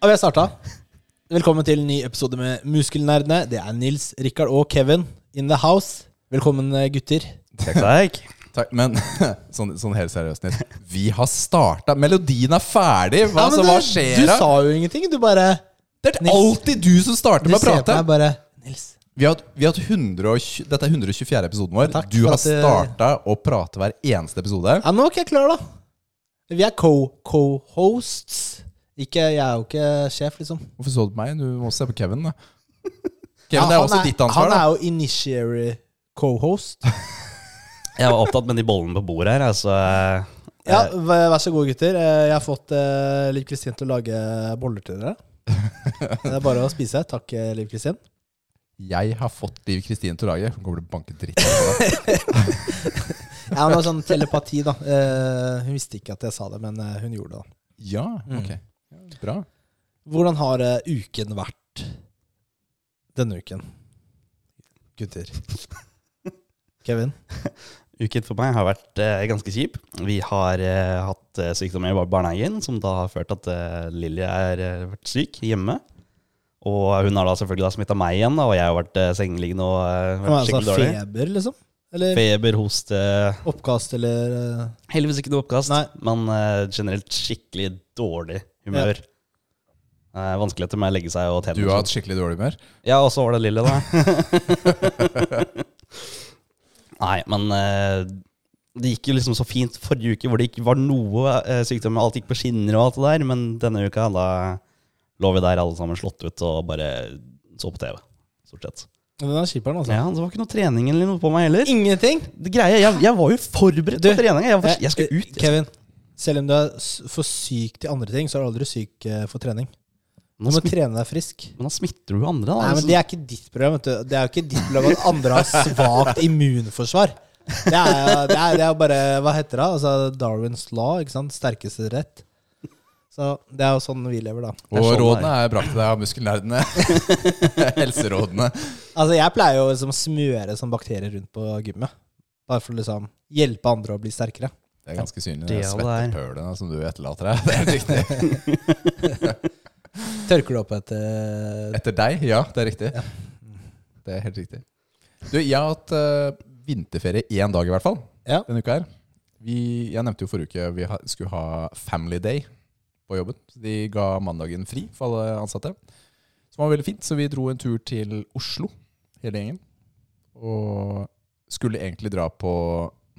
Og vi har starta. Velkommen til en ny episode med Muskelnerdene. Det er Nils, Rikard og Kevin in the house. Velkommen, eh, gutter. Takk, takk. Takk, men sånn, sånn helt seriøst, Nils. Vi har starta. Melodien er ferdig! Hva, Ja, men så, du- hva skjer? Du da? sa jo ingenting. Du bare det er Nils. alltid du som starter Du med å ser på prate! meg bare Nils. Vi har, hatt- vi har hatt 120, Dette er 124. episoden vår. Takk du for har at det- starta å prate hver eneste episode. Ja, nå er ikke jeg klar, da. Vi er co- co-hosts. Ikke, jeg er jo ikke sjef, liksom. Hvorfor så du på meg? Du må også se på Kevin. da Ja, Kevin, Det er han også ditt ansvar. Han da er jo initiary co-host. Jeg var opptatt med de bollene på bordet her, altså. Ja, vær vær så god, gutter. Eh, Jeg har fått eh, Liv Kristin til å lage boller til dere. Det er bare å spise. Takk, eh, Liv Kristin. Jeg har fått Liv Kristin til å lage. Hun kommer til å banke dritt på deg. Ja, men det var sånn telepati, da. Eh, hun visste ikke at jeg sa det, men eh, hun gjorde det. da. Ja, Mm. ok. Bra. Hvordan har eh, uken vært denne uken? Gutter. Kevin? Uken for meg har vært eh, ganske kjip. Vi har eh, hatt eh, sykdom i bar- barnehagen, som da har ført at eh, Lilly har vært syk hjemme. Og hun har da selvfølgelig smitta meg igjen, da, og jeg har vært eh, sengeliggende og eh, Han vært har altså skikkelig dårlig. feber, liksom? Eller Feber, hoste oppkast, eller eh, Heldigvis ikke noe oppkast, Nei. men eh, generelt skikkelig dårlig humør. Eh, vanskeligheter med å legge seg og Du tenne. sånn. sånn. har hatt skikkelig dårlig humør. Ja, og så var det Lille, da. Nei, men eh, det gikk jo liksom så fint forrige uke, hvor det ikke var noe eh, sykdom. Alt gikk på skinner og alt det der, men denne uka, da lå vi der alle sammen slått ut og bare så på TV, stort sett. Den er skipperen, altså. Ja, Det var ikke noe trening eller noe på meg heller. Ingenting! Det greia, jeg, jeg var jo forberedt Du, på treninga. Jeg, var- jeg Eh, skulle ut. Jeg, Kevin, selv om du er s- for syk til andre ting, så er du aldri syk eh, for trening. Du må nå, smitter, trene deg frisk. men da smitter du jo andre, da. Nei, men Det er ikke ditt problem. vet du Det er jo ikke ditt problem at andre har svakt immunforsvar. Det er, det, er, det er bare Hva heter det? Altså Darwins law. ikke sant? Sterkeste rett. Så Det er jo sånn vi lever, da. Og sånn det er. rådene er brakt til deg av muskelnerdene. Helserådene. Altså Jeg pleier jo liksom å smøre sånn bakterier rundt på gymmet. Bare for å liksom hjelpe andre å bli sterkere. Det er ganske synlig. Det Det er der. svettepølene som du etterlater deg. Det er helt riktig. Tørker du opp eh, etter Etter deg, ja. Det er riktig. Det er helt riktig. Du, jeg har hatt eh, vinterferie én dag i hvert fall Ja. denne uka her. Vi, jeg nevnte jo forrige uke vi ha, skulle ha Family Day på jobben. Så de ga mandagen fri for alle ansatte. Som var veldig fint, så vi dro en tur til Oslo, hele gjengen. Og skulle egentlig dra på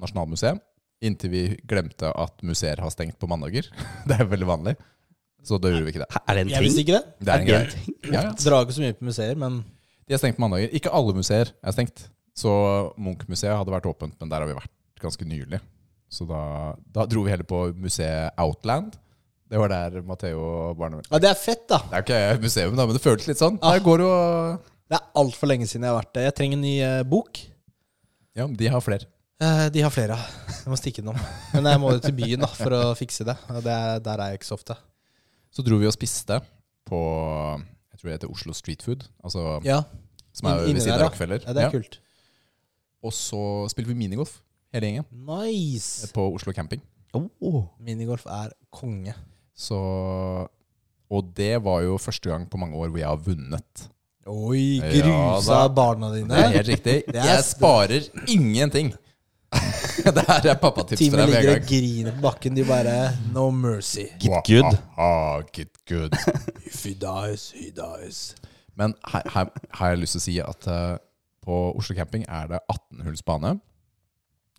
Nasjonalmuseet, inntil vi glemte at museer har stengt på mandager. Det er veldig vanlig. Så da gjorde vi ikke det. Hæ, er det en Jeg visste ting? ikke det. Det er en greie. ting? Ja, ja. Drar ikke så mye på museer, men De er stengt mandager. Ikke alle museer er stengt. Så Munch-museet hadde vært åpent, men der har vi vært ganske nylig. Så da, da dro vi heller på museet Outland. Det var der Matheo og barna mine ja, Det er fett, da. Det er jo ikke museum, da, men det føltes litt sånn. Ah. Der går jo Det er altfor lenge siden jeg har vært der. Jeg trenger en ny eh, bok. Ja, men de har flere. Eh, De har flere. Jeg må stikke innom. Men jeg må jo til byen da, for å fikse det. Og det er, der er jeg ikke så ofte. Så dro vi og spiste på Jeg tror det heter Oslo Street Food, altså, Ja, som er inne ved siden der, av ja. Rockefeller. ja Det er Ja. kult. Og så spilte vi minigolf, hele gjengen, Nice! på Oslo camping. Oh. Minigolf er konge. Så Og det var jo første gang på mange år hvor jeg har vunnet. Oi, grusa Ja da. barna Det er dine. helt riktig. Det er Jeg sparer ingenting. Det her er pappatips til Teamet deg med en ligger og gang. griner på bakken. De bare No mercy. Get good. Ah, get good. If he dies, he dies. Men her, her har jeg lyst til å si at eh, på Oslo camping er det 18 hulls bane.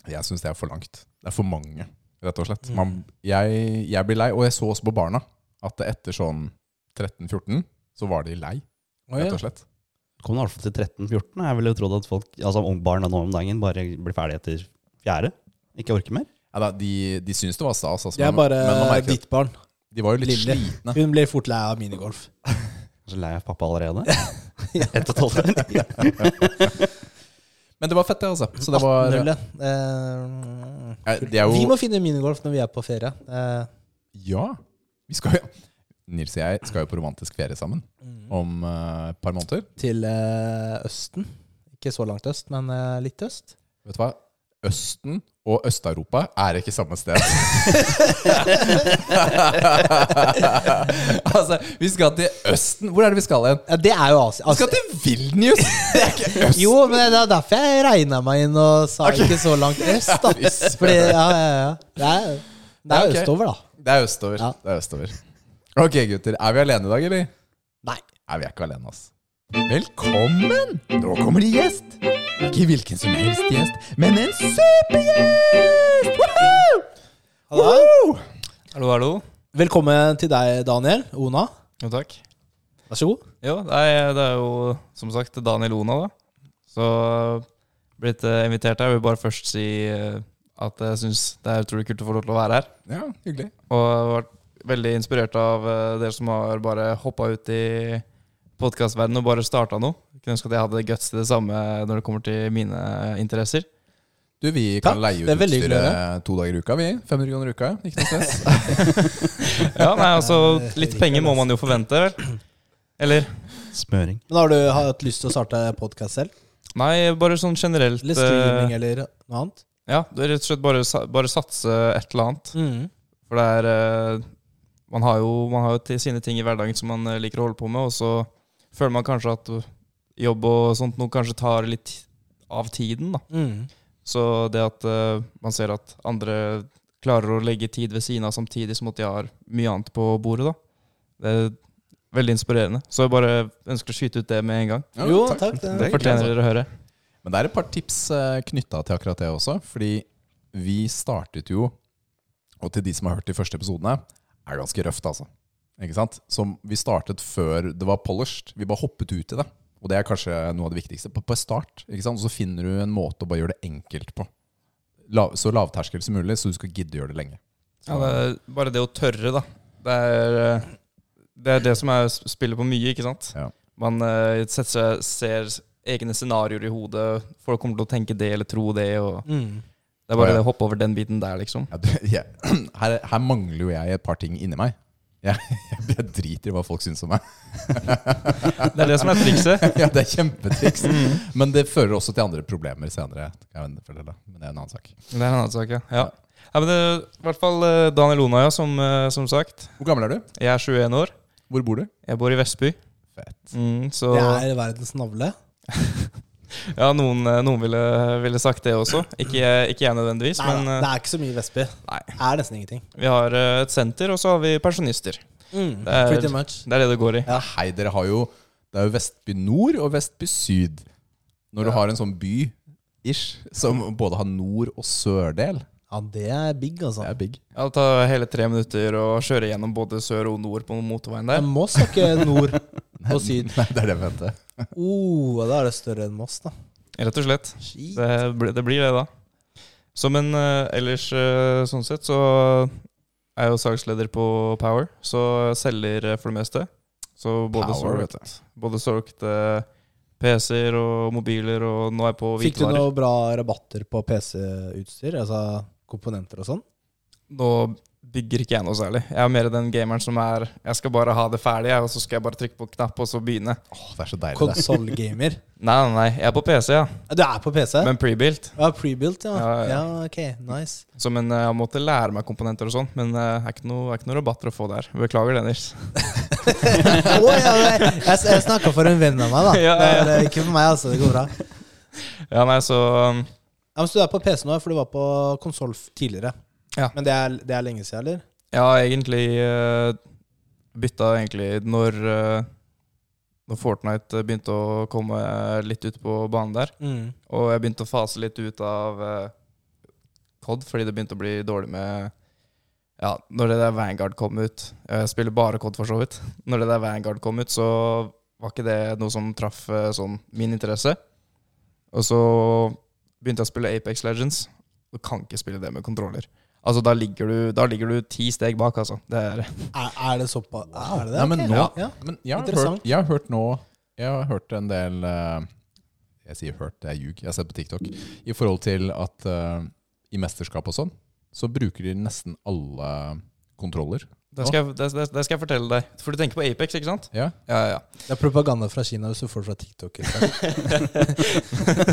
Jeg syns det er for langt. Det er for mange, rett og Mm. slett. Man, jeg, jeg blir lei, og jeg så også på barna at etter sånn 13-14 så var de lei, Å, ja. rett og slett. Kom det i hvert fall til 13-14. Jeg ville jo trodd at folk, altså ungbarna nå om dagen, bare blir ferdig etter fjerde. Ikke orker mer. Ja, da, de de syns det var stas, altså, Det er men- bare men man merker at- ditt barn. De var jo litt Lille. slitne. Hun ble fort lei av minigolf. Så lei av pappa allerede. Ett og et halvt år. Men det var fett, det, altså. Så det var Null, ja. Ja, Det er Eh, Vi jo må finne minigolf når vi er på ferie. Eh, Ja. Vi skal jo Nils og jeg skal jo på romantisk ferie sammen om eh, et par måneder. til eh, Østen. Ikke så langt øst, men eh, litt øst. Vet du hva? Østen og Øst-Europa er ikke samme sted. altså, vi skal til Østen. Hvor er det vi skal hen? Ja, det er jo Asia. Altså, Vi skal til Vilnius! Det er ikke Østen. Jo, men det er derfor jeg regna meg inn og sa ikke så langt øst. da Fy søren. Fordi, ja, ja, ja Det er, det er Ja, ok. østover, da. Det er østover. Ja. Det er østover. Ok, gutter. Er vi alene i dag, eller? Nei. Nei, vi er ikke alene, ass. Velkommen! Nå kommer det gjest. Ikke hvilken som helst gjest, men en supergjest! Woohoo! Woohoo! Hallo, hallo. Velkommen til deg, Daniel. Ona. Jo, takk. Vær så god. Jo, det er, det er jo som sagt Daniel Ona, da. Så blitt eh, invitert her. Jeg vil bare først si eh, at jeg syns det er utrolig kult å få lov til å være her. Ja, hyggelig. Og jeg har vært veldig inspirert av eh, dere som har bare hoppa ut i podkastverdenen og bare starta noe. Jeg kunne ønske at jeg hadde guts til det samme når det kommer til mine interesser. Du, vi Takk. kan leie ut Det er veldig hyggelig å utstyret to dager i uka, vi. 500 kroner i uka. Ikke noe stress. Ja, nei, altså Litt penger må man jo forvente, vel? Eller? Smøring. Men Har du hatt lyst til å starte podkast selv? Nei, bare sånn generelt. Eller eh, streaming, eller noe annet? Ja, det er rett og slett bare, sa- bare satse et eller annet. Mm. For det er eh, man har, jo, man har jo til sine ting i hverdagen som man eh, liker å holde på med, og så føler man kanskje at jobb og sånt noe kanskje tar litt av tiden, da. Mm. Så det at eh, man ser at andre klarer å legge tid ved siden av samtidig som at de har mye annet på bordet, da. Det er veldig inspirerende. Så jeg bare ønsker å skyte ut det med en gang. Ja, Jo, takk. Det det- fortjener dere å høre. Men det er et par tips knytta til akkurat det også. Fordi vi startet jo, og til de som har hørt de første episodene, er ganske røft, altså. Ikke sant? Som vi startet før det var polished. Vi bare hoppet ut i det. Og det er kanskje noe av det viktigste. På, på start ikke sant? så finner du en måte å bare gjøre det enkelt på. La, så lavterskel som mulig, så du skal gidde å gjøre det lenge. Ja, det er bare det å tørre, da. Det er eh, det, er det som er spiller på mye, ikke sant? Ja. Man eh, setter seg, ser egne scenarioer i hodet. Folk kommer til å tenke det eller tro det. Og Mm. det er bare Ja, ja. det å hoppe over den biten der, liksom. Ja, det- jeg- her, her mangler jo jeg et par ting inni meg. Jeg, jeg driter i hva folk syns om meg. Det er det som er trikset. Mm. ja, det er kjempetriks. Men det fører også til andre problemer senere. kan jeg fortelle, Men det er en annen sak. Det er en annen sak, ja. ja. ja men det, I hvert fall eh, Daniel Ona, ja, som, eh, som sagt. Hvor gammel er du? Jeg er 21 år. Hvor bor du? Jeg bor i Vestby. Fett. Mm, så Det er verdens navle. ja, noen, eh, noen ville, ville sagt det også. Ikke, jeg- ikke jeg nødvendigvis, Nei, men da, eh, det er ikke så mye Vestby. Nei. Det er nesten ingenting. vi har eh, et senter, og så har vi pensjonister. Mm. Det er- Pretty much. Det er det det går i. Ja. Hei, dere har jo Det er jo Vestby nord og Vestby syd. Når du har en sånn by ish som både har nord- og sørdel, Ja, det er big, altså. det er big. Ja, Det tar hele tre minutter å kjøre gjennom både sør og nord på motorveien der. Men Moss er ikke nord og syd. Nei, det er det jeg mente. Oh, da er det større enn Moss, da. Rett og slett. Shit. Det, blir- det blir det, da. Så, men eh, ellers eh, sånn sett så er jeg jo salgsleder på Power, så jeg selger eh, for det meste. Så både Power, solgt- vet du. både solgt eh, PC-er og mobiler, og nå er jeg på Fikk du hvitevarer. noen bra rabatter på PC-utstyr? Altså komponenter og sånn? Nå bygger ikke jeg noe særlig. Jeg er mer den gameren som er Jeg skal bare ha det ferdig, jeg, og så skal jeg bare trykke på knapp, og så begynne. Åh, det er så deilig, det. Konsollgamer. Nei, nei, nei. Jeg er på PC, ja. Du er på PC? Men prebuilt. ja, Prebuilt, ja. Ja, ja. ja. Ok, nice. Så, men eh, jeg måtte lære meg komponenter og sånn, men det er ikke noe, er ikke noe rabatter å få der. Beklager det, Nils. Å, ja, nei, jeg jeg snakka for en venn av meg, da. Ja, Det ja. er, eh, ikke for meg, altså. Det går bra. Ja, nei, så um, Ja, men Så du er på PC nå, for du var på konsoll tidligere. Ja. Men det er, det er lenge siden, eller? Jeg har egentlig eh, bytta egentlig når eh, når Fortnite begynte å komme litt ut på banen der, Mm. og jeg begynte å fase litt ut av eh, COD fordi det begynte å bli dårlig med Ja, når det der Vanguard kom ut Eh, Jeg spiller bare COD, for så vidt. Når det der Vanguard kom ut, så var ikke det noe som traff eh, sånn min interesse. Og så begynte jeg å spille Apex Legends. Du kan ikke spille det med kontroller. Altså, da ligger du, da ligger du ti steg bak, altså. Det er, Er, er det såpass Er det det? Nei, men Ok, nå, ja. men jeg, har Interessant. hørt, jeg har hørt nå Jeg har hørt en del eh, Jeg sier hørt, det er ljug. Jeg har sett på TikTok. I forhold til at eh, i mesterskap og sånn, så bruker de nesten alle kontroller. det, skal jeg, det, det, det skal jeg fortelle deg. For du tenker på Apex, ikke sant? Ja. Ja, ja. Det er propaganda fra Kina hvis du får det fra TikTok. ikke sant?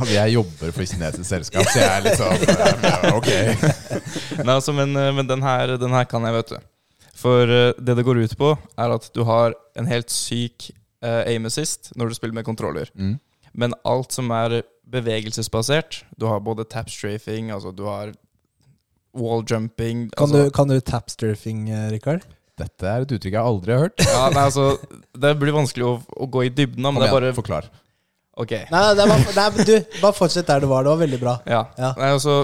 Altså, jeg jobber for kinesisk selskap, så jeg er litt sånn eh, Ok. Nei, altså, men, eh, men den, her, den her kan jeg, vet du. For eh, det det går ut på, er at du har en helt syk eh, aim assist når du spiller med kontroller. Mm. Men alt som er bevegelsesbasert Du har både tap strafing, altså du har wall jumping Kan altså, du, kan du tapstrafing, eh, Rikard? Dette er et uttrykk jeg aldri har hørt. ja, nei, altså, Det blir vanskelig å, å gå i dybden av, Kom men det er igjen, bare forklar. Ok. Nei, nei, det var, nei, men du, bare fortsett der du var. Det var veldig bra. Ja. Ja. Nei, altså,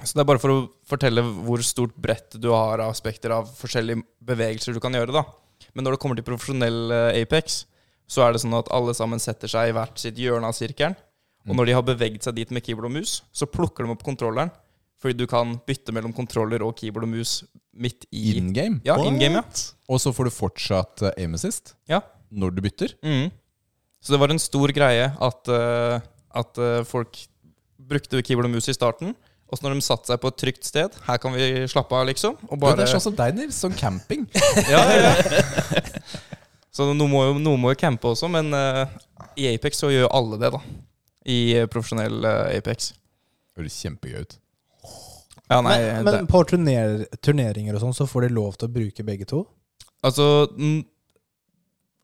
så det er bare for å fortelle hvor stort brett du har av spekter av forskjellige bevegelser du kan gjøre. da. Men når det kommer til profesjonell eh, Apex, så er det sånn at alle sammen setter seg i hvert sitt hjørne av sirkelen. Og Mm. når de har beveget seg dit med keyboard og mus, så plukker de opp kontrolleren. Fordi du kan bytte mellom kontroller og keyboard og mus midt i In game. Ja, in game, ja. Og så får du fortsatt eh, aim assist Ja. når du bytter. Mm. Så det var en stor greie at, eh, at eh, folk brukte keyboard og mus i starten. Og så når de satte seg på et trygt sted Her kan vi slappe av, liksom. Og Bare... bare Det er sånn som deg, Nils. Sånn camping. ja, ja, ja. Så noen må, jo, noen må jo campe også, men eh, i Apex så gjør alle det, da. I eh, profesjonell eh, Apex. Høres kjempegøy ut. Ja, nei, men det, men på turner, turneringer og sånn, så får de lov til å bruke begge to? Altså n-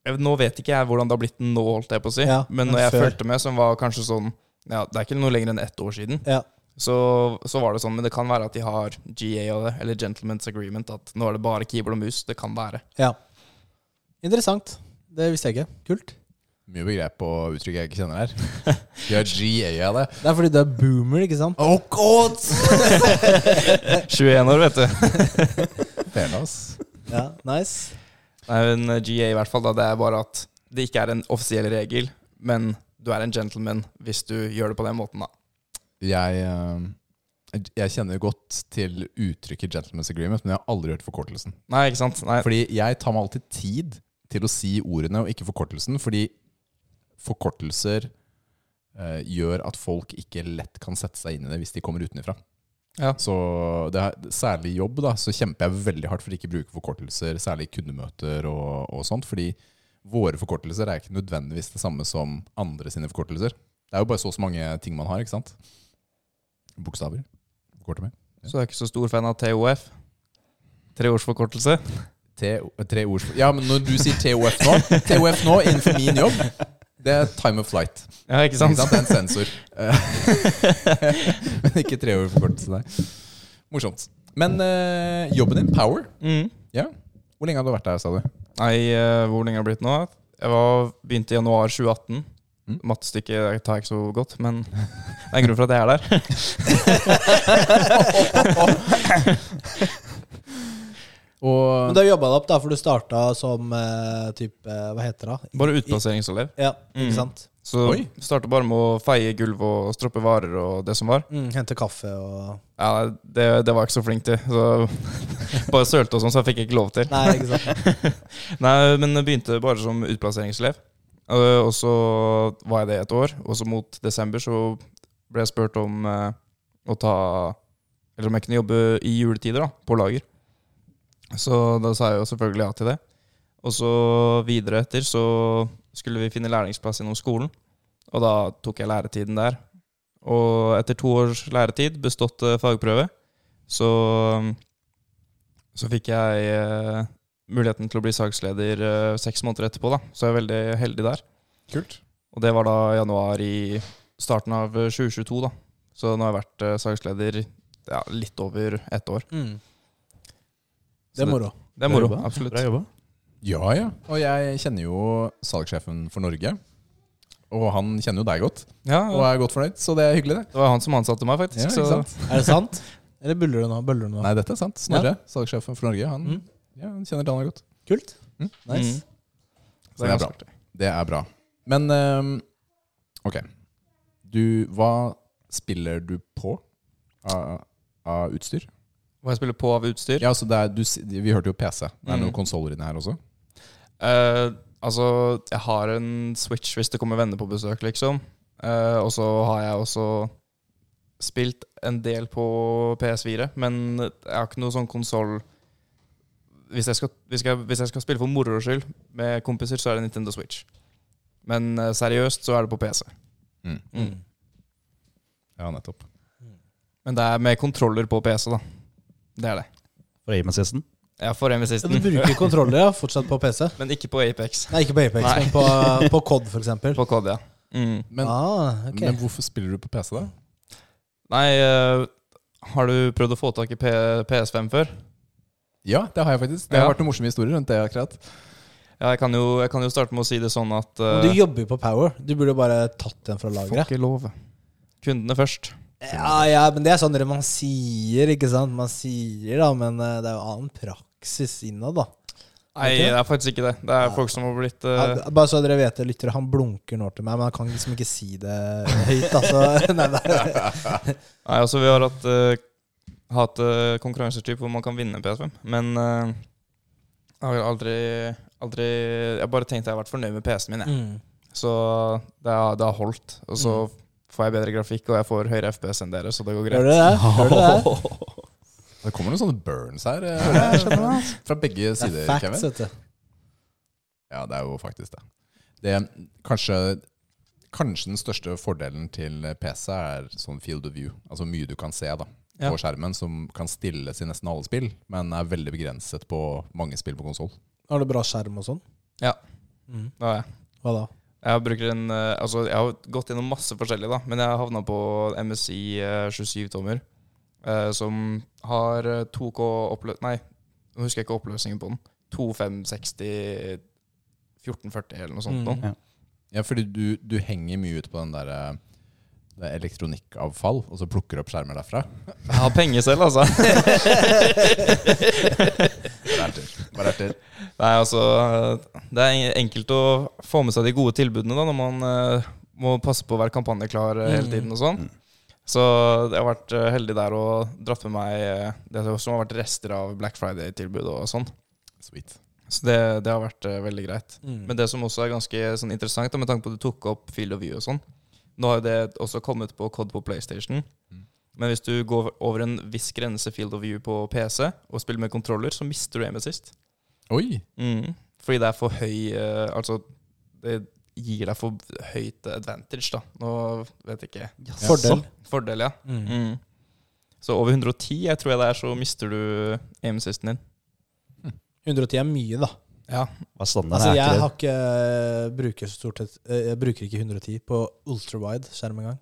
jeg- Nå vet ikke jeg hvordan det har blitt nå, holdt jeg på å si. Ja, men men når jeg før. fulgte med, som var kanskje sånn Ja, det er ikke noe lenger enn ett år siden. Ja. Så, så var det sånn, men det kan være at de har GA og det, eller Gentlemen's Agreement, at nå er det bare keyboard og mus. Det kan være. Ja. Interessant. Det visste jeg ikke. Kult. Mye begrep og uttrykk jeg ikke kjenner her. Vi har GA av det. Det er fordi du er boomer, ikke sant? Oh god! 21 år, vet du. Fela, ass. Ja, nice. Nei, men eh, GA i hvert fall, da, det er bare at det ikke er en offisiell regel, men du er en gentleman hvis du gjør det på den måten, da. Jeg, eh, jeg kjenner godt til uttrykket 'gentleman's agreement', men jeg har aldri hørt forkortelsen. Nei, ikke sant? Nei. Fordi jeg tar meg alltid tid til å si ordene og ikke forkortelsen, fordi forkortelser eh, gjør at folk ikke lett kan sette seg inn i det hvis de kommer utenfra. Ja. Så det er, særlig i jobb da, så kjemper jeg veldig hardt for ikke å bruke forkortelser, særlig i kundemøter og, og sånt, fordi våre forkortelser er ikke nødvendigvis det samme som andre sine forkortelser. Det er jo bare så og så mange ting man har, ikke sant? Bokstaver. Kortet med. Så du er ikke så stor fan av TOF? Treårsforkortelse? T, tre ord Ja, men når du sier TOF nå TOF nå innenfor min jobb Det er time of flight Ikke Ja, ikke sant? sant? Det er en sensor Eh, Men ikke tre ord forkortelse nei. Morsomt Men eh, jobben din, Power Mm. Ja Hvor lenge har du vært der, sa du? Nei, eh, hvor lenge har det blitt nå? Jeg var, begynte i januar 2018. Mm. Mattestykket tar jeg ikke så godt, men det er en grunn for at jeg er der. Men Og du har jobba deg opp, da, for du starta som eh, type eh, Hva heter det? Bare utplasseringselev. Ja, ikke Mm. sant? Så Oi. starta bare med å feie gulv og stroppe varer og det som var. Mm, hente kaffe og Ja, det, det var jeg ikke så flink til. Så bare sølte og sånn, så jeg fikk ikke lov til. Nei, ikke sant? Nei, men jeg begynte bare som utplasseringselev. Eh, Og så var jeg det et år. Og så mot desember så ble jeg spurt om eh, å ta Eller om jeg kunne jobbe i juletider, da, på lager. Så da sa jeg jo selvfølgelig ja til det. Og så videre etter så skulle vi finne lærlingsplass gjennom skolen. Og da tok jeg læretiden der. Og etter to års læretid, bestått eh, fagprøve, så Så fikk jeg eh, muligheten til å bli saksleder eh, seks måneder etterpå, da. Så jeg er veldig heldig der. Kult Og det var da januar i starten av eh, 2022, da. Så nå har jeg vært eh, saksleder ja, litt over ett år. Mm. Det er moro. Det er moro, absolutt. Bra jobba. Ja, ja Og jeg kjenner jo salgssjefen for Norge Og han kjenner jo deg godt Ja, Og er godt fornøyd Så det er hyggelig det det var han som ansatte meg, Ja, faktisk. ikke så sant? Er det sant? Eller buller du nå? Bøller du nå? Nei, dette er sant Snorre, salgssjefen for Norge Han, Mm. ja, han kjenner Daniel godt Kult. Mm. Nice. Så det er bra. Det er bra. Men ehm, ok. Du, hva spiller du på av, av utstyr. Hva jeg spiller på av utstyr? Ja, så det er, du, s- vi hørte jo PC. Det er Mm. noen konsoller inne her også. Eh, altså, jeg har en Switch hvis det kommer venner på besøk, liksom. Eh, og så har jeg også spilt en del på PS4, men jeg har ikke noe sånn konsoll hvis, jeg skal- hvis, jeg- hvis jeg skal spille for moro skyld med kompiser, så er det Nintendo Switch. Men eh, seriøst så er det på PC. Mm. Mm. Ja, nettopp. Men det er med kontroller på PC, da. Det er det. For Aim-assisten. Jeg får en Ja, ved Du sisten, bruker kontroller ja, fortsatt på PC? men ikke på Apex. Nei, ikke på Apex, Nei. men på, eh, på COD, for eksempel. På Kodia. Mm. Men, ah, ok. men hvorfor spiller du på PC, da? Nei, eh, har du prøvd å få tak i P PS5 før? Ja, det har jeg faktisk. Det har Ja. vært noen morsomme historier rundt det akkurat. Ja, jeg kan jo, jeg kan jo starte med å si det sånn at Men eh, Du jobber jo på Power. Du burde jo bare tatt den fra Får lageret. ikke lov. Kundene først. Ja, ja, men det er sånn dere man sier, ikke sant? Man sier da, men eh, det er jo annen praksis innad, da. Nei, Ok. det Ah. er faktisk ikke det. Det er Nei. folk som har blitt Ja, eh, b- bare så dere vet det, lyttere. Han blunker nå til meg, men han kan liksom ikke si det høyt. Altså. Nei, nei. Nei, altså, vi har hatt, eh, hatt eh, konkurranser typ hvor man kan vinne en PS5, men eh, jeg har aldri, aldri Jeg bare tenkte jeg har vært fornøyd med PC-en min, jeg. Mm. Så det har, det har holdt. Og så får jeg bedre grafikk, og jeg får høyere FPS enn dere, så Mm. det går greit. Gjør du det? Gjør du det? Det kommer noen sånne burns her. eh, Fra begge Det sider, er facts, Kevin. vet du. Ja, det er jo faktisk det. Det er kanskje, kanskje den største fordelen til PC er sånn field of view. Altså mye du kan se da, Ja. på skjermen, som kan stilles i nesten alle spill, men er veldig begrenset på mange spill på konsoll. Har du bra skjerm og sånn? Ja. Mm. Ja, ja. Hva da? Jeg bruker en eh, Altså, jeg har gått gjennom masse forskjellig, da. Men jeg har havna på MSI eh, 27-tommer, eh, som har eh, 2K oppløs... Nei, nå husker jeg ikke oppløsningen på den. 2560 1440 eller noe sånt. Mm. nå. Ja, fordi du, du henger mye ut på den der eh, det er elektronikkavfall, og så plukker du opp skjermer derfra. Jeg har penger selv, altså. Bare erter. Bare erter. Nei, altså eh, Det er enkelt å få med seg de gode tilbudene da, når man eh, må passe på å være kampanjeklar eh, hele Mm. tiden og sånn. Så jeg har vært eh, heldig der og dratt med meg eh, det som har vært rester av Black Friday-tilbud og sånn. Sweet. Så det, det har vært eh, veldig greit. Mm. Men det som også er ganske sånn, interessant, da, med tanke på at du tok opp Field of View og sånn Nå har jo det også kommet på COD på PlayStation. Mm. Men hvis du går over en viss grense Field of View på PC og spiller med kontroller, så mister du aim assist. Oi! Mm. Fordi det er for høy eh, Altså, det gir deg for høyt advantage, da. Nå vet jeg ikke. Fordel. Fordel, ja. Mm. Mm. Så over 110, jeg tror jeg det er, så mister du aim assisten din. 110 er mye, da. Ja. Hva er standard? Altså, er jeg ikke har det? ikke bruker stort sett eh, Jeg bruker ikke 110 på ultrawide skjerm engang.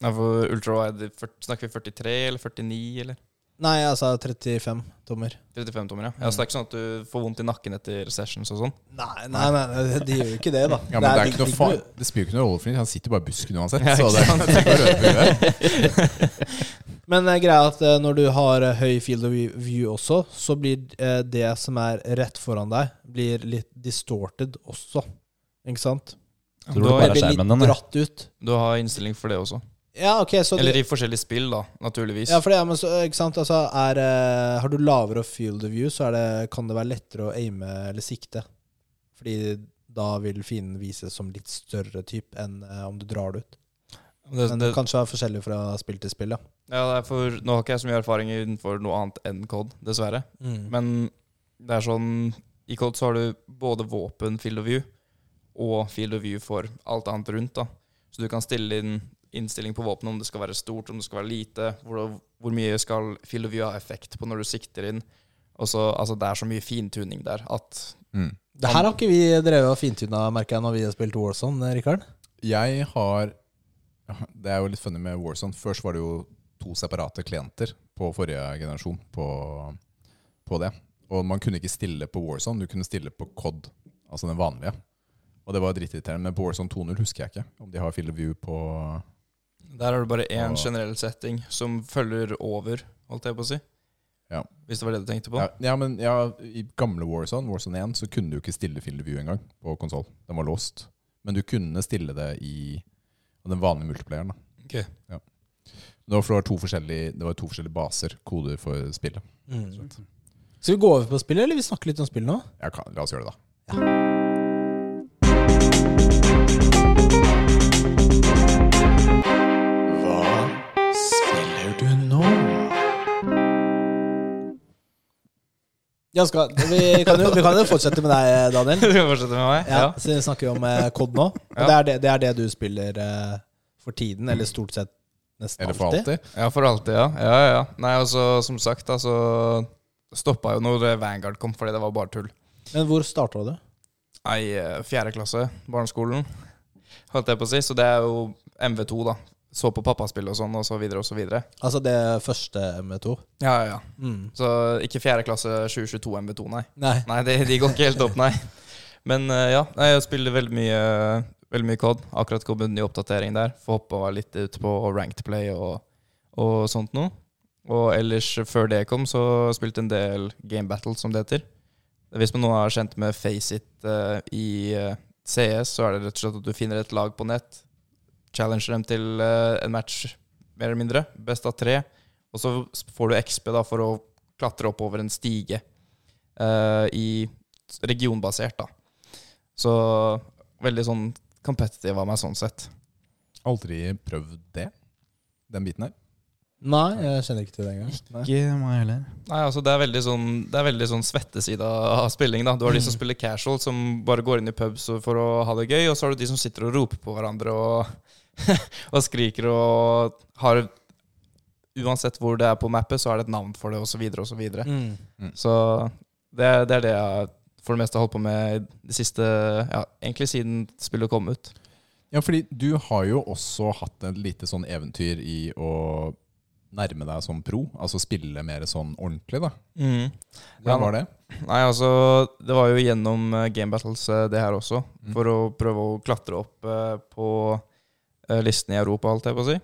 Ja, for ultrawide, fyrt- snakker vi 43 eller 49 eller Nei, altså 35 tommer. 35 tommer? Ja. Mm. ja, Så det er ikke sånn at du får vondt i nakken etter sessions og sånn? Nei, nei, nei, nei de gjør jo ikke det, da. Ja, men det, er ikke noe fa ligger det spiller jo ikke noe rolle for ham. Han sitter bare i busken uansett. Ja, så ikke det sant? det er ikke noe å røre på huet. jo- Men eh, greia er at eh, når du har eh, høy field of view- view også, så blir eh, det som er rett foran deg, blir litt distorted også. Ikke sant? Tror Du du har, bare- er blir skjermen litt den, ja. dratt ut. du har innstilling for det også. Ja, ok, så du, Eller i forskjellige spill, da, naturligvis. ja, for det, er- men så, ikke sant? Altså, er, eh, har du lavere field of view, så er det, kan det være lettere å aime eller sikte. Fordi da vil fienden vises som litt større type enn eh, om du drar det ut. det, Men det, det kanskje er forskjellig fra spill til spill, ja. ja, det er for, nå har ikke jeg så mye erfaring innenfor noe annet enn COD, dessverre. Mm. Men det er sånn I COD så har du både våpen, field of view, og field of view for alt annet rundt. da Så du kan stille inn innstilling på våpenet, om det skal være stort, om det skal være lite. Hvor, hvor mye skal field of view ha effekt på når du sikter inn? Og så, altså Det er så mye fintuning der at Mm. Det her har ikke vi drevet og fintuna, merker jeg, når vi har spilt Warzone, Rikard. Jeg har Det er jo litt funny med Warzone. Først var det jo to separate klienter på forrige generasjon på, på det. Og man kunne ikke stille på Warzone, du kunne stille på COD, altså den vanlige. Og det var dritirriterende. Men på Warzone 2.0 husker jeg ikke om de har field of view på der har du bare én Og- generell setting som følger over, holdt jeg på å si. Ja. Hvis det var det du tenkte på. ja, ja, men ja, i gamle Warzone, Warzone 1, så kunne du ikke stille field of view engang på konsoll. Den var låst. Men du kunne stille det i den vanlige multiplayeren. da. Ok. Ja. Det var, for det, var to forskjellige, det var to forskjellige baser, koder for spillet. Mm. Skal vi gå over på spillet, eller vi snakker litt om spillet nå? Jeg kan, la oss gjøre det, da. Hva spiller du nå? Ja, skal, vi, kan jo, vi kan jo fortsette med deg, Daniel. Skal vi fortsette med meg? Ja, Så snakker vi om eh, COD nå. Og Ja. det, er det, det er det du spiller eh, for tiden, eller stort sett nesten Eller for alltid. alltid. Ja, for alltid, ja. ja, ja, ja. Nei, altså, som sagt, da, så stoppa jo når Vanguard kom, fordi det var bare tull. Men hvor starta du? Nei, eh, fjerde klasse, barneskolen, holdt jeg på å si. Så det er jo MV2, da. Så på pappaspill og sånn, og så videre og så videre. Altså det første M2? Ja, ja, ja. Så ikke fjerde klasse 2022 MV2, nei. Nei. Nei, de, de går ikke helt opp, nei. Men eh, ja, nei, jeg spiller veldig mye, veldig mye COD. Akkurat kommet en ny oppdatering der. Får hoppa litt ut på ranked play og, og sånt noe. Og ellers, før det kom, så spilte en del game battle, som det heter. Hvis man nå er kjent med Faceit uh, i eh, CS, så er det rett og slett at du finner et lag på nett, challenger dem til eh, en match, mer eller mindre, best av tre, og så får du XP da for å klatre oppover en stige eh, i regionbasert, da. Så veldig sånn competitive av meg sånn sett. Aldri prøvd det, den biten her. Nei, jeg kjenner ikke til det engang. Nei. Ikke meg heller. Nei, altså Det er veldig sånn Det er veldig sånn svetteside av spilling. da Du har de som spiller casual, som bare går inn i pubs for å ha det gøy, og så har du de som sitter og roper på hverandre og, og skriker og har Uansett hvor det er på mappet, så er det et navn for det, osv., osv. videre Mm. Så det, er- det er det jeg for det meste har holdt på med de siste Ja, egentlig siden spillet kom ut. Ja, fordi du har jo også hatt et lite sånn eventyr i å nærme deg som pro. Altså spille mer sånn ordentlig, da. Mm. Hvordan var det? Nei, altså, det var jo gjennom eh, Game Battles eh, det her også, Mm. for å prøve å klatre opp eh, på eh, listen i Europa, holdt jeg på å si.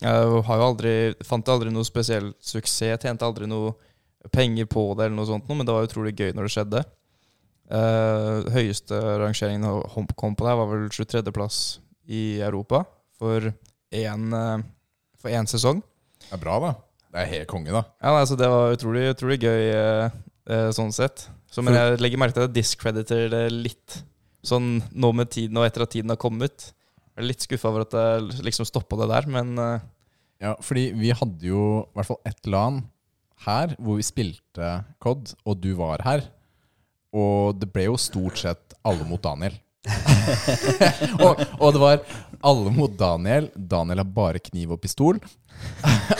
Jeg har jo aldri, fant aldri noe spesiell suksess, tjente aldri noe penger på det, eller noe sånt, noe, men det var utrolig gøy når det skjedde. Eh, høyeste rangeringen av Hump kom på der, var vel 23.-plass i Europa for én eh, for én sesong. Det er bra, da. Det er helt konge, da. Ja, nei, så Det var utrolig, utrolig gøy eh, eh, sånn sett. Så, men jeg legger merke til at jeg discrediter det litt. Sånn nå med tiden og etter at tiden har kommet. Jeg er litt skuffa over at jeg liksom stoppa det der, men eh, Ja, fordi vi hadde jo i hvert fall ett LAN her hvor vi spilte COD, og du var her. Og det ble jo stort sett alle mot Daniel. og, og det var alle mot Daniel. Daniel har bare kniv og pistol.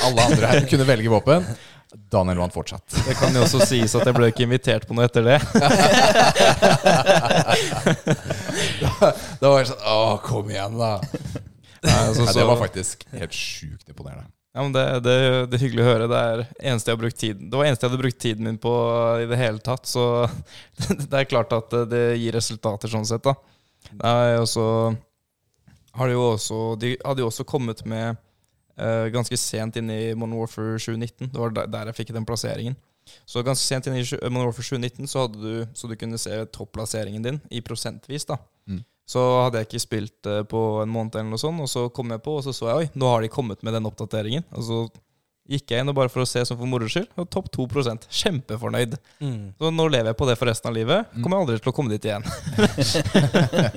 alle andre her kunne velge våpen. Daniel vant fortsatt. det kan jo også sies at jeg ble ikke invitert på noe etter det. Det var sånn Å, kom igjen, da. Nei, altså, Nei, så, det var faktisk helt sjukt imponerende. ja, men det, det, det er hyggelig å høre. Det er eneste jeg har brukt tiden Det var eneste jeg hadde brukt tiden min på i det hele tatt, så det er klart at eh, det gir resultater sånn sett, da. Nei, og så har de jo også De hadde jo også kommet med eh, ganske sent inn i Modern Warfare 2019. Det var der- der jeg fikk den plasseringen. Så ganske sent inn i tjue- Modern Warfare 2019 så, hadde du, så du kunne se topplasseringen din i prosentvis. da. Mm. Så hadde jeg ikke spilt eh, på en måned, eller noe sånt, og så kom jeg på, og så så jeg oi, nå har de kommet med den oppdateringen. Og så gikk jeg inn og bare for å se sånn for moro skyld, og topp 2 Kjempefornøyd. Mm. Så nå lever jeg på det for resten av livet. Kommer jeg aldri til å komme dit igjen.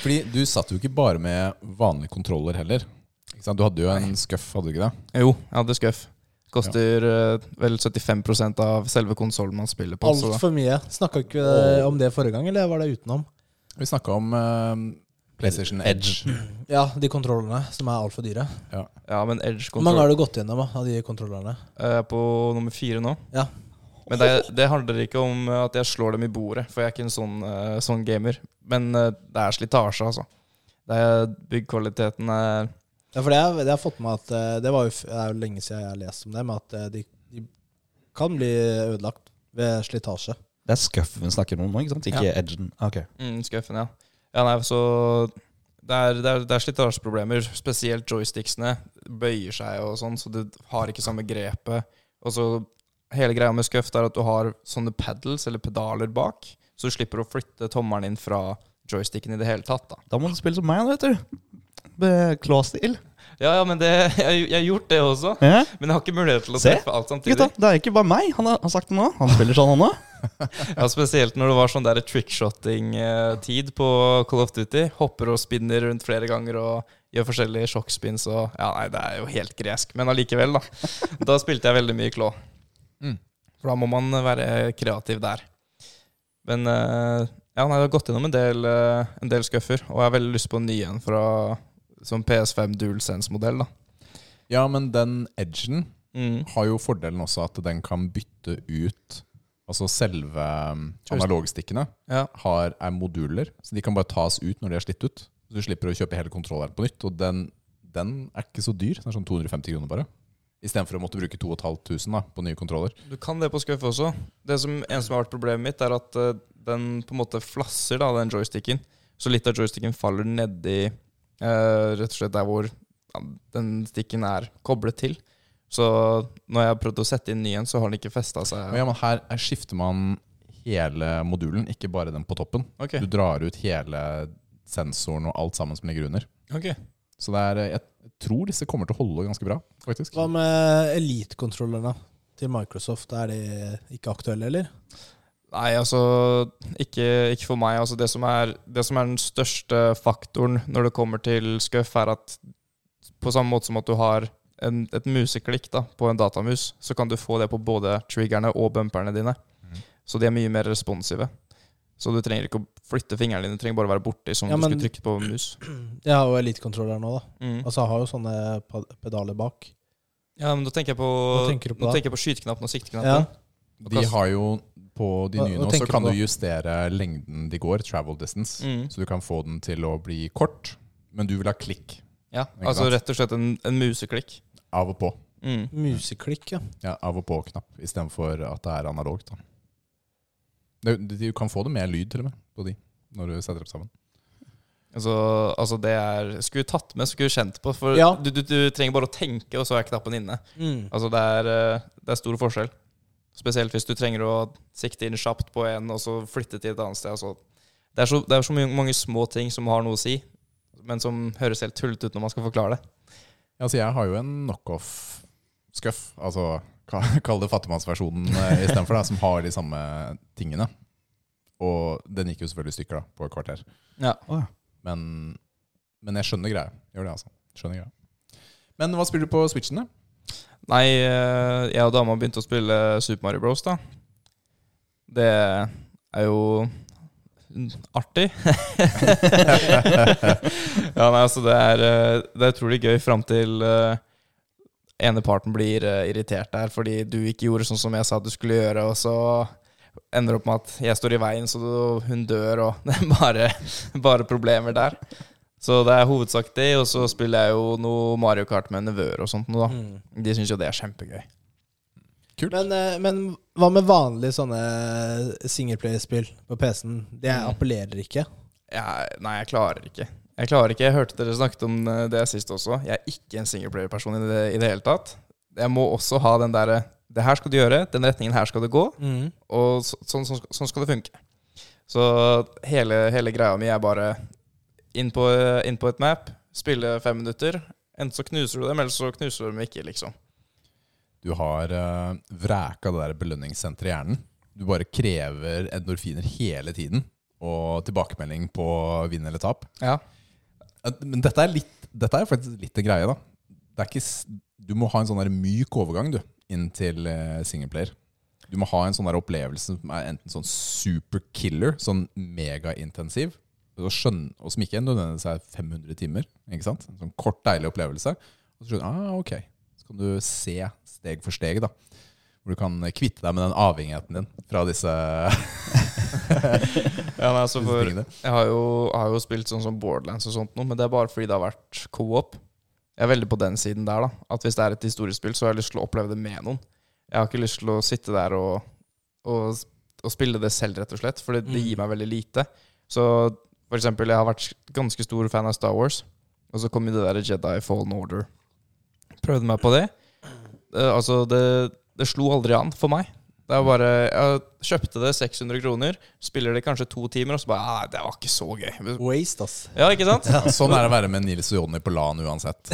Fordi du satt jo ikke bare med vanlige kontroller heller. Ikke sant? Du hadde jo en skuff, hadde du ikke det? Jo, jeg hadde skuff. Koster eh, vel 75 av selve konsollen man spiller på. så da- Altfor mye. Snakka ikke eh, om det forrige gang, eller var det utenom? Vi snakka om eh, PlayStation Edge. Ja, de kontrollene som er altfor dyre. Ja, men Edge Hvor mange kontroll har du gått gjennom av de kontrollerne? er Eh, på nummer fire nå. Ja. Men det, det handler ikke om eh, at jeg slår dem i bordet, for jeg er ikke en sånn, eh, sånn gamer. Men eh, det er slitasje, altså. Det er, byggkvaliteten er Ja, for det har, det har fått med at eh, Det var jo, f- det er jo lenge siden jeg har lest om det, men at eh, de, de kan bli ødelagt ved slitasje. Det er scuffen vi snakker om nå, ikke sant? Ikke edgen. Ok. mm, skuffen, ja. Ja, nei, så det er, det er, det er slitasjeproblemer. Spesielt joysticksene bøyer seg og sånn, så du har ikke samme grepet. Og så hele greia med skuff er at du har sånne pedals, eller pedaler, bak. Så du slipper å flytte tommelen inn fra joysticken i det hele tatt, da. Da må du spille som meg, da, vet du. Klåstil. Ja, ja, men det, jeg, jeg har gjort det også. Ja. Men jeg har ikke mulighet til å Se. treffe alt samtidig. Gutta, det er ikke bare meg. Han har, har sagt det nå. Han spiller sånn, han òg. Ja, Spesielt når det var sånn der trickshotting-tid på Call of Duty. Hopper og spinner rundt flere ganger og gjør forskjellige sjokkspins og Ja, nei, det er jo helt gresk, men allikevel, da. Da spilte jeg veldig mye klå. Mm. For da må man være kreativ der. Men eh, ja, nei, jeg har gått gjennom en del, eh, en del skuffer, og jeg har veldig lyst på en ny en fra som PS5 DualSense-modell, da. Ja, men den edgen Mm. har jo fordelen også at den kan bytte ut Altså selve um, Joystick. analogstikkene Ja. har, er moduler, så de kan bare tas ut når de er slitt ut. Så du slipper å kjøpe hele kontrolleren på nytt. Og den, den er ikke så dyr. Den er sånn 250 kroner bare. Istedenfor å måtte bruke 2500 da, på nye kontroller. Du kan det på skuffe også. Det som, en som har vært problemet mitt, er at eh, den på en måte flasser, da, den joysticken. Så litt av joysticken faller nedi uh, rett og slett der hvor ja, den stikken er koblet til. Så når jeg har prøvd å sette inn ny en, så har den ikke festa Men seg. ja, men her er- skifter man hele modulen, ikke bare den på toppen. Ok, Du drar ut hele sensoren og alt sammen som ligger under. ok. Så det er, eh, jeg tror disse kommer til å holde ganske bra, faktisk. Hva med elite-kontrollerne til Microsoft? Er de ikke aktuelle, eller? Nei, altså ikke, ikke for meg. Altså, det, som er, det som er den største faktoren når det kommer til skuff, er at på samme måte som at du har en, et museklikk da, på en datamus, så kan du få det på både triggerne og bumperne dine. Mm. Så de er mye mer responsive. Så du trenger ikke å flytte fingrene dine, du trenger bare å være borti som Ja, du men- skulle trykke på mus. Jeg har jo elite-kontroller nå, da. Mm. Altså, jeg har jo sånne pa- pedaler bak. Ja, men da tenker jeg på, Hva tenker du på nå da? tenker jeg på skyteknappen og Ja. sikteknappen. De har jo på de Hva- nye hva nå, så tenker kan du du på? justere lengden de går, travel distance. Mm. Så du kan få den til å bli kort, men du vil ha klikk Ja, Ikke altså sant? rett og slett en, en museklikk. av og på. Mm. Museklikk, ja. Ja, av og på-knapp, istedenfor at det er analogt. Da. Du, du du kan få det med lyd, til og med, på de, når du setter opp sammen. Altså, altså det er Skulle tatt med, skulle kjent på. For Ja. du, du, du trenger bare å tenke, og så er knappen inne. Altså det er, eh, det er stor forskjell. Spesielt hvis du trenger å sikte inn kjapt på en, og så flytte til et annet sted. Altså. Det er så, det er så mange, mange små ting som har noe å si, men som høres helt tullete ut når man skal forklare det. Ja, så Altså, jeg har jo en knockoff-skuff, altså ka- kall det fattigmannsversjonen eh, istedenfor, da, som har de samme tingene. Og den gikk jo selvfølgelig i stykker da, på et kvarter. Ja. Å, ja. Men, men jeg skjønner greia. Gjør det, altså. Skjønner greia. Men hva spiller du på Switchen, da? Nei, eh, jeg og dama begynte å spille Super Mario Bros, da. Det er jo artig. ja, nei, altså det er, eh, det er utrolig gøy fram til eh, ene parten blir eh, irritert der fordi du ikke gjorde sånn som jeg sa at du skulle gjøre, og så ender det opp med at jeg står i veien, så du- hun dør, og det er bare, bare problemer der. Så det er hovedsak det, og så spiller jeg jo noe Mario Kart med nevøer og sånt noe, da. Mm. De syns jo det er kjempegøy. Men, eh, men hva med vanlige sånne singleplayerspill på PC-en? Det Mm. appellerer ikke. Jeg, nei, jeg klarer ikke. Jeg klarer ikke, jeg hørte dere snakket om eh, det sist også. Jeg er ikke en singleplayer-person i, det- i det hele tatt. Jeg må også ha den derre Det her skal du gjøre, den retningen her skal du gå, og så- sånn, sånn, sånn skal det funke. Så hele, hele greia mi er bare inn på, inn på et map, spille fem minutter. Enten så knuser du dem, eller så knuser du dem ikke, liksom. Du har eh, vraka det der belønningssenteret i hjernen. Du bare krever endorfiner hele tiden, og tilbakemelding på vinn eller tap. Ja. At- Men dette er, litt, dette er faktisk litt en greie, da. Det er ikke, s- du må ha en sånn der myk overgang du, inn til eh, singleplayer. Du må ha en sånn der opplevelse som er enten sånn super killer, sånn megaintensiv, og, skjønn- og som ikke nødvendigvis er 500 timer. ikke sant? En sånn kort, deilig opplevelse. Og så skjønner du ah, ok, så kan du se steg for steg, da. Hvor du kan kvitte deg med den avhengigheten din fra disse, ja men altså disse for, tingene. Jeg har jo, jeg har jo spilt sånn som Borderlands og sånt nå, men det er bare fordi det har vært co-op. Jeg er veldig på den siden der, da. At hvis det er et historiespill, så har jeg lyst til å oppleve det med noen. Jeg har ikke lyst til å sitte der og, og, og spille det selv, rett og slett, for det, det Mm. gir meg veldig lite. Så for eksempel, jeg har vært ganske stor fan av Star Wars, og så kom jo det der Jedi Fallen Order. Prøvde meg på det. Eh, altså, det, det slo aldri an for meg. Det er bare, Jeg kjøpte det 600 kroner, spiller det kanskje to timer, og så bare Nei, det var ikke så gøy. Waste, ass. Ja, ikke sant? Sånn er det å være med Nils og Jonny på LAN uansett.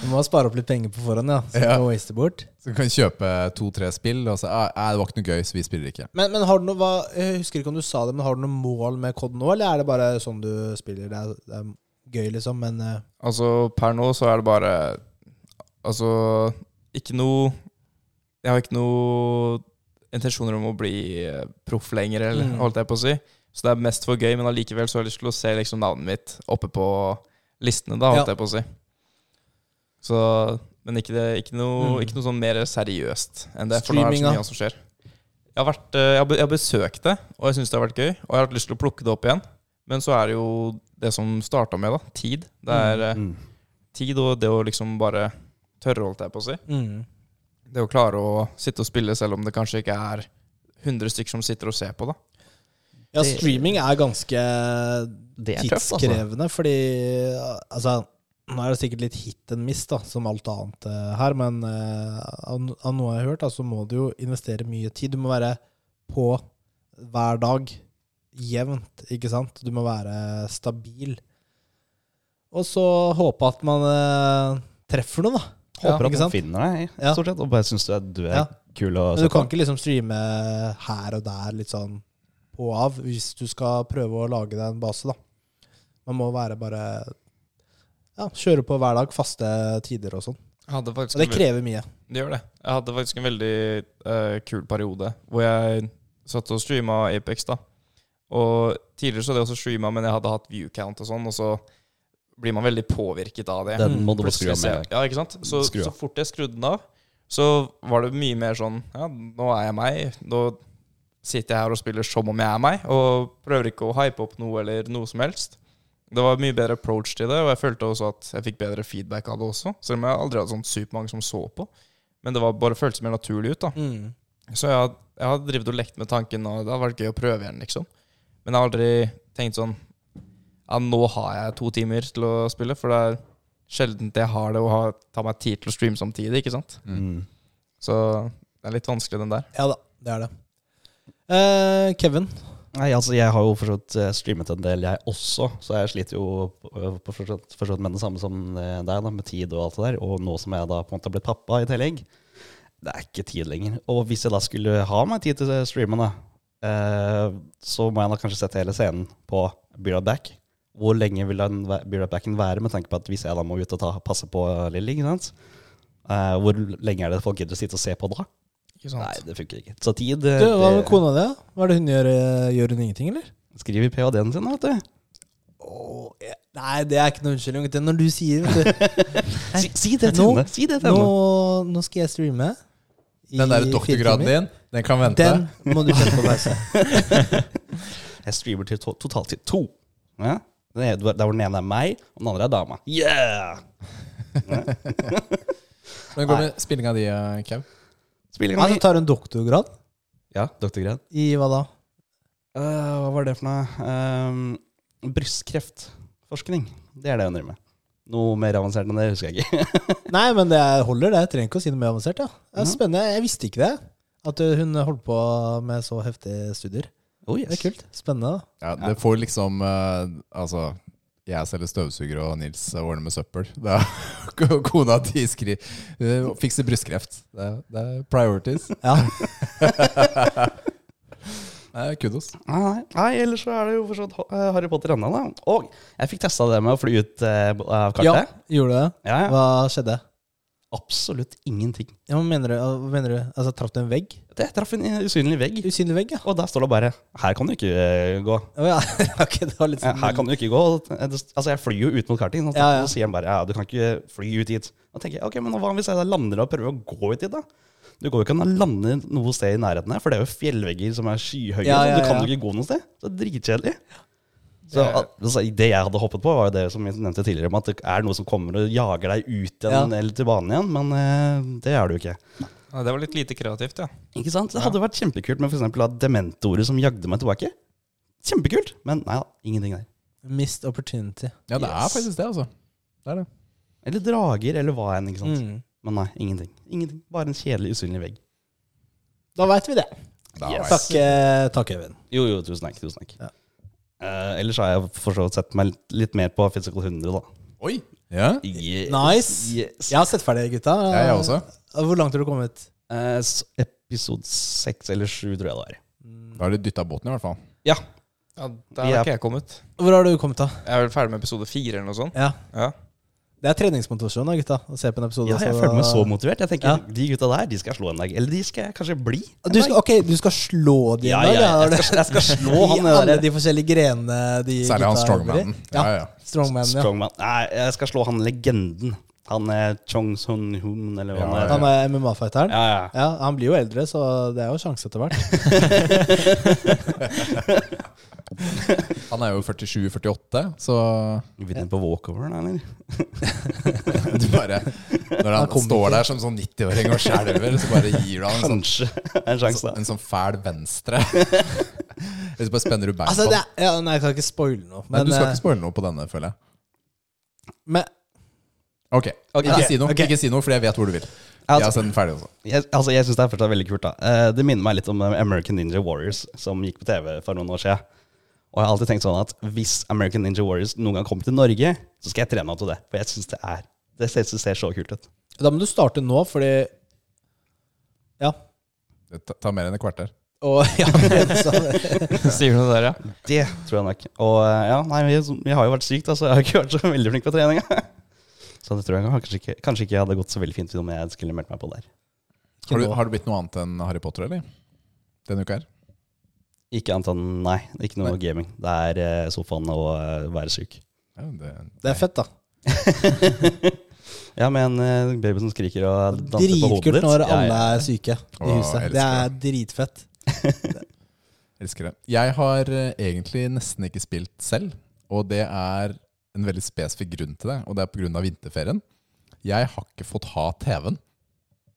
Du må spare opp litt penger på forhånd, ja. Så Ja. du waste det bort. Så du kan kjøpe to-tre spill, og så ah, eh, det var ikke noe gøy, så vi spiller ikke. Men, men har du noe, hva, jeg husker ikke om du sa det, men har du noe mål med COD nå, eller er det bare sånn du spiller? Det er, det er gøy, liksom, men eh, Altså, per nå så er det bare Altså, ikke noe Jeg har ikke noe intensjoner om å bli eh, proff lenger, eller, Mm. holdt jeg på å si. Så det er mest for gøy, men allikevel så har jeg lyst til å se liksom navnet mitt oppe på listene, da, holdt Ja. jeg på å si. Så Men ikke, det, ikke, noe, Mm. ikke noe sånn mer seriøst enn det, for nå er det Streaminga. så mye annet som skjer. Jeg har, vært, eh, jeg har be- jeg har besøkt det, og jeg syns det har vært gøy. Og jeg har hatt lyst til å plukke det opp igjen. Men så er det jo det som starta med, da. Tid. Det er eh, Mm. tid og det å liksom bare tørre, holdt jeg på å si. mm. Det å klare å sitte og spille selv om det kanskje ikke er 100 stykker som sitter og ser på, da. Ja, Det- streaming er ganske Det er tøft, altså. tidskrevende, fordi altså nå er det sikkert litt hit and miss, da, som alt annet eh, her, men eh, av, av noe jeg har hørt, da, så må du jo investere mye tid. Du må være på hver dag jevnt, ikke sant? Du må være stabil. Og så håpe at man eh, treffer noe, da. Håper Ja, ikke at sant? noen finner deg, Ja. stort sett, og bare syns du er, du er Ja. kul å Men se du på. kan ikke liksom streame her og der litt sånn på og av hvis du skal prøve å lage deg en base, da. Man må være bare ja, kjøre på hver dag, faste tider og sånn. Hadde faktisk Og det krever mye. Det gjør det. Jeg hadde faktisk en veldig eh, kul periode hvor jeg satt og streama Apex, da. Og tidligere så hadde jeg også streama, men jeg hadde hatt view count og sånn, og så blir man veldig påvirket av det. Den må du bare skru Plutselig av ser- med. Ja, ikke sant? Så, Skru av. så fort jeg skrudde den av, så var det mye mer sånn Ja, nå er jeg meg. Nå sitter jeg her og spiller som om jeg er meg, og prøver ikke å hype opp noe eller noe som helst. Det var mye bedre approach til det, og jeg følte også at jeg fikk bedre feedback av det også. Selv om jeg aldri hadde sånn supermange som så på. Men det var bare føltes mer naturlig ut, da. Mm. Så jeg, had- jeg har drevet og lekt med tanken, og det hadde vært gøy å prøve igjen, liksom. Men jeg har aldri tenkt sånn Ja, nå har jeg to timer til å spille, for det er sjelden jeg har det, og har, tar meg tid til å streame samtidig, ikke sant? Mm. Så det er litt vanskelig, den der. Ja da, det er det. Eh, Kevin, Nei, altså Jeg har jo for så vidt eh, streamet en del, jeg også, så jeg sliter jo på- eh, på for så vidt- for så vidt med det samme som eh, deg, da, med tid og alt det der. Og nå som jeg da på en måte har blitt pappa i tillegg, det er ikke tid lenger. Og hvis jeg da skulle ha meg tid til streamen, da, eh, så må jeg da kanskje sette hele scenen på Be Right Back. Hvor lenge vil den væ- Be Right Backen være, med tanke på at hvis jeg da må ut og ta, passe på Lilly, ikke sant? Eh, hvor lenge er det folk gidder å sitte og se på da? Ikke Nei, det funker ikke. Så tid du, eh, hva med det- kona di? da? Hva er det hun gjør? eh, Gjør hun ingenting, eller? Skriver ph.d.-en sin, da, vet du. Åh, jeg- nei, det er ikke noe unnskyldning. Det er Når du sier vet Si, si det til Nå- henne. Si det du, til henne. nå, nå skal jeg streame i Den der fire doktorgraden timer." din, den kan vente. Den må du sette på pause. Jeg streamer til to, totalt til to. Ja? Den ene- Der hvor den ene er meg, og den andre er dama. Yeah! Men går det med spillinga di, eh, Kev? Spilling Ja, så tar hun doktorgrad Ja, doktorgrad. i hva da? Eh, hva var det for noe? Ehm, Brystkreftforskning. Det er det jeg driver med. Noe mer avansert enn det husker jeg ikke. Nei, men det holder, det. Jeg trenger ikke å si noe mer avansert. Ja. Det er Ja. spennende. Jeg visste ikke det. At uh, hun holdt på med så heftige studier. Oh, yes. Det er kult. Spennende. da. Ja, det får liksom eh, Altså, jeg selger støvsuger, og Nils ordner med søppel. Da, kona di skriver eh, Fikser brystkreft. Det, er- det er priorities. Ja. Eh, Kudos. Nei, nei. nei, ellers så er det jo forstått Harry Potter ennå, da. Og jeg fikk testa det med å fly ut eh, av ja, kartet. gjorde det? Ja, ja. Hva skjedde? Absolutt ingenting. Ja, hva mener du? Hva mener du? Altså, Traff du en vegg? Det traff en eh, usynlig vegg. Usynlig vegg, ja. Og der står det bare 'Her kan du ikke eh, gå'. Å, ja. ok, det var litt Ja, sånn Her kan du ikke gå. Altså, jeg flyr jo ut mot karting. Og Ja, ja. så sier han bare ja, du kan ikke fly ut hit. Da tenker jeg ok, men hva hvis jeg da lander og prøver å gå ut dit, da? Du går jo ikke an å lande noe sted i nærheten her, for det er jo fjellvegger som er skyhøye. Ja, ja, så du kan ja. jo ikke gå noe sted. Så det er dritkjedelig. Så altså, Det jeg hadde hoppet på, var jo det som jeg nevnte tidligere, om at det er noe som kommer og jager deg ut igjen Ja. eller til banen igjen, men eh, det er det jo ikke. Ja, det var litt lite kreativt, ja. Ikke sant? Det hadde vært kjempekult med f.eks. dementoret som jagde meg tilbake. Kjempekult, men nei da, ingenting der. sånn Missed opportunity. Ja, det er Yes. faktisk det, altså. Det er det. Eller drager, eller hva enn. ikke sant? Mm. Men nei, ingenting. Ingenting. Bare en kjedelig, usynlig vegg. Da veit vi det. Da Yes. var Takk, eh, takk Øyvind. Jo, jo, tusen takk. Tusen takk. Ja. Eh, ellers har jeg for så vidt sett meg litt- litt mer på Physical 100, da. jeg- Oi! Ja, Yes. Nice. Yes. Jeg har sett ferdig, gutta. det er jeg også. Hvor langt har du kommet? Eh, s- episode seks eller sju, tror jeg det er. Mm. Da har du dytta båten, i hvert fall. Ja. Ja, Vi Der er- har ikke jeg kommet. Hvor har du kommet, da? Jeg er vel ferdig med episode fire eller noe sånt. Ja. Ja. Det er treningsmotivasjon, da, gutta. Å se på en episode. ja, jeg så- føler meg så motivert. Jeg tenker, Ja. De gutta der de skal jeg slå en dag. Eller de skal jeg kanskje bli. en du dag. skal, ok, du skal slå de ja, en dag? ja, har du- jeg, skal, jeg skal slå I han eh, alle der de forskjellige grenene de Særlig han gutta jobber strongmanen. i. Ja, Ja, ja. strongman, ja. strongman. Nei, jeg skal slå han legenden. Han er Chong Son Hoon, eller hva Ja, han er. Han er MMA-fighteren. Ja. Ja, ja. Han blir jo eldre, så det er jo sjanse etter hvert. Han er jo 47-48, så Vi begynner på walkover, da, eller? du bare Når han, kommer står der som sånn 90-åring og skjelver, så bare gir du han en sånn, Kanskje. En sjanse, da. en sånn fæl venstre. Eller så bare spenner du bein Altså, på det han. er, ja, nei, jeg kan ikke spoile noe. Nei, Men, du skal eh, ikke spoile noe på denne, føler jeg. men Ok, Ok. Ikke, si noe, Ok. ikke si noe, for jeg vet hvor du vil. Ja, Jeg har altså, sett den ferdig også. jeg altså, jeg syns det er fortsatt veldig kult. da Eh, Det minner meg litt om eh, American Ninja Warriors, som gikk på TV for noen år siden. Og jeg har alltid tenkt sånn at hvis American Ninja Warriors noen gang kommer til Norge, så skal jeg trene meg til det. For jeg syns det er Det ser, det ser så kult ut. da må du starte nå, fordi Ja. Det ta- tar mer enn et kvarter. Og ja, men, så, Sier du noe der, ja? Det tror jeg nok. Og eh, ja, nei, vi, vi har jo vært sykt, altså. Jeg har ikke vært så veldig flink på treninga. Så det tror jeg kanskje ikke, kanskje ikke hadde gått så veldig fint om jeg skulle meldt meg på der. Har du, nå. har du blitt noe annet enn Harry Potter, eller? Denne uka her? Ikke annet enn nei. Ikke noe Nei. gaming. Det er eh, sofaen og eh, være syk. Ja, det, det er fett, da. ja, med en eh, baby som skriker og danser på hodet Dritkult ditt. når Ja, ja. alle er syke i Å, huset. elsker Det er dritfett. Elsker det. Jeg har eh, egentlig nesten ikke spilt selv, og det er en veldig spesifikk grunn til det, og det er pga. vinterferien. Jeg har ikke fått ha TV-en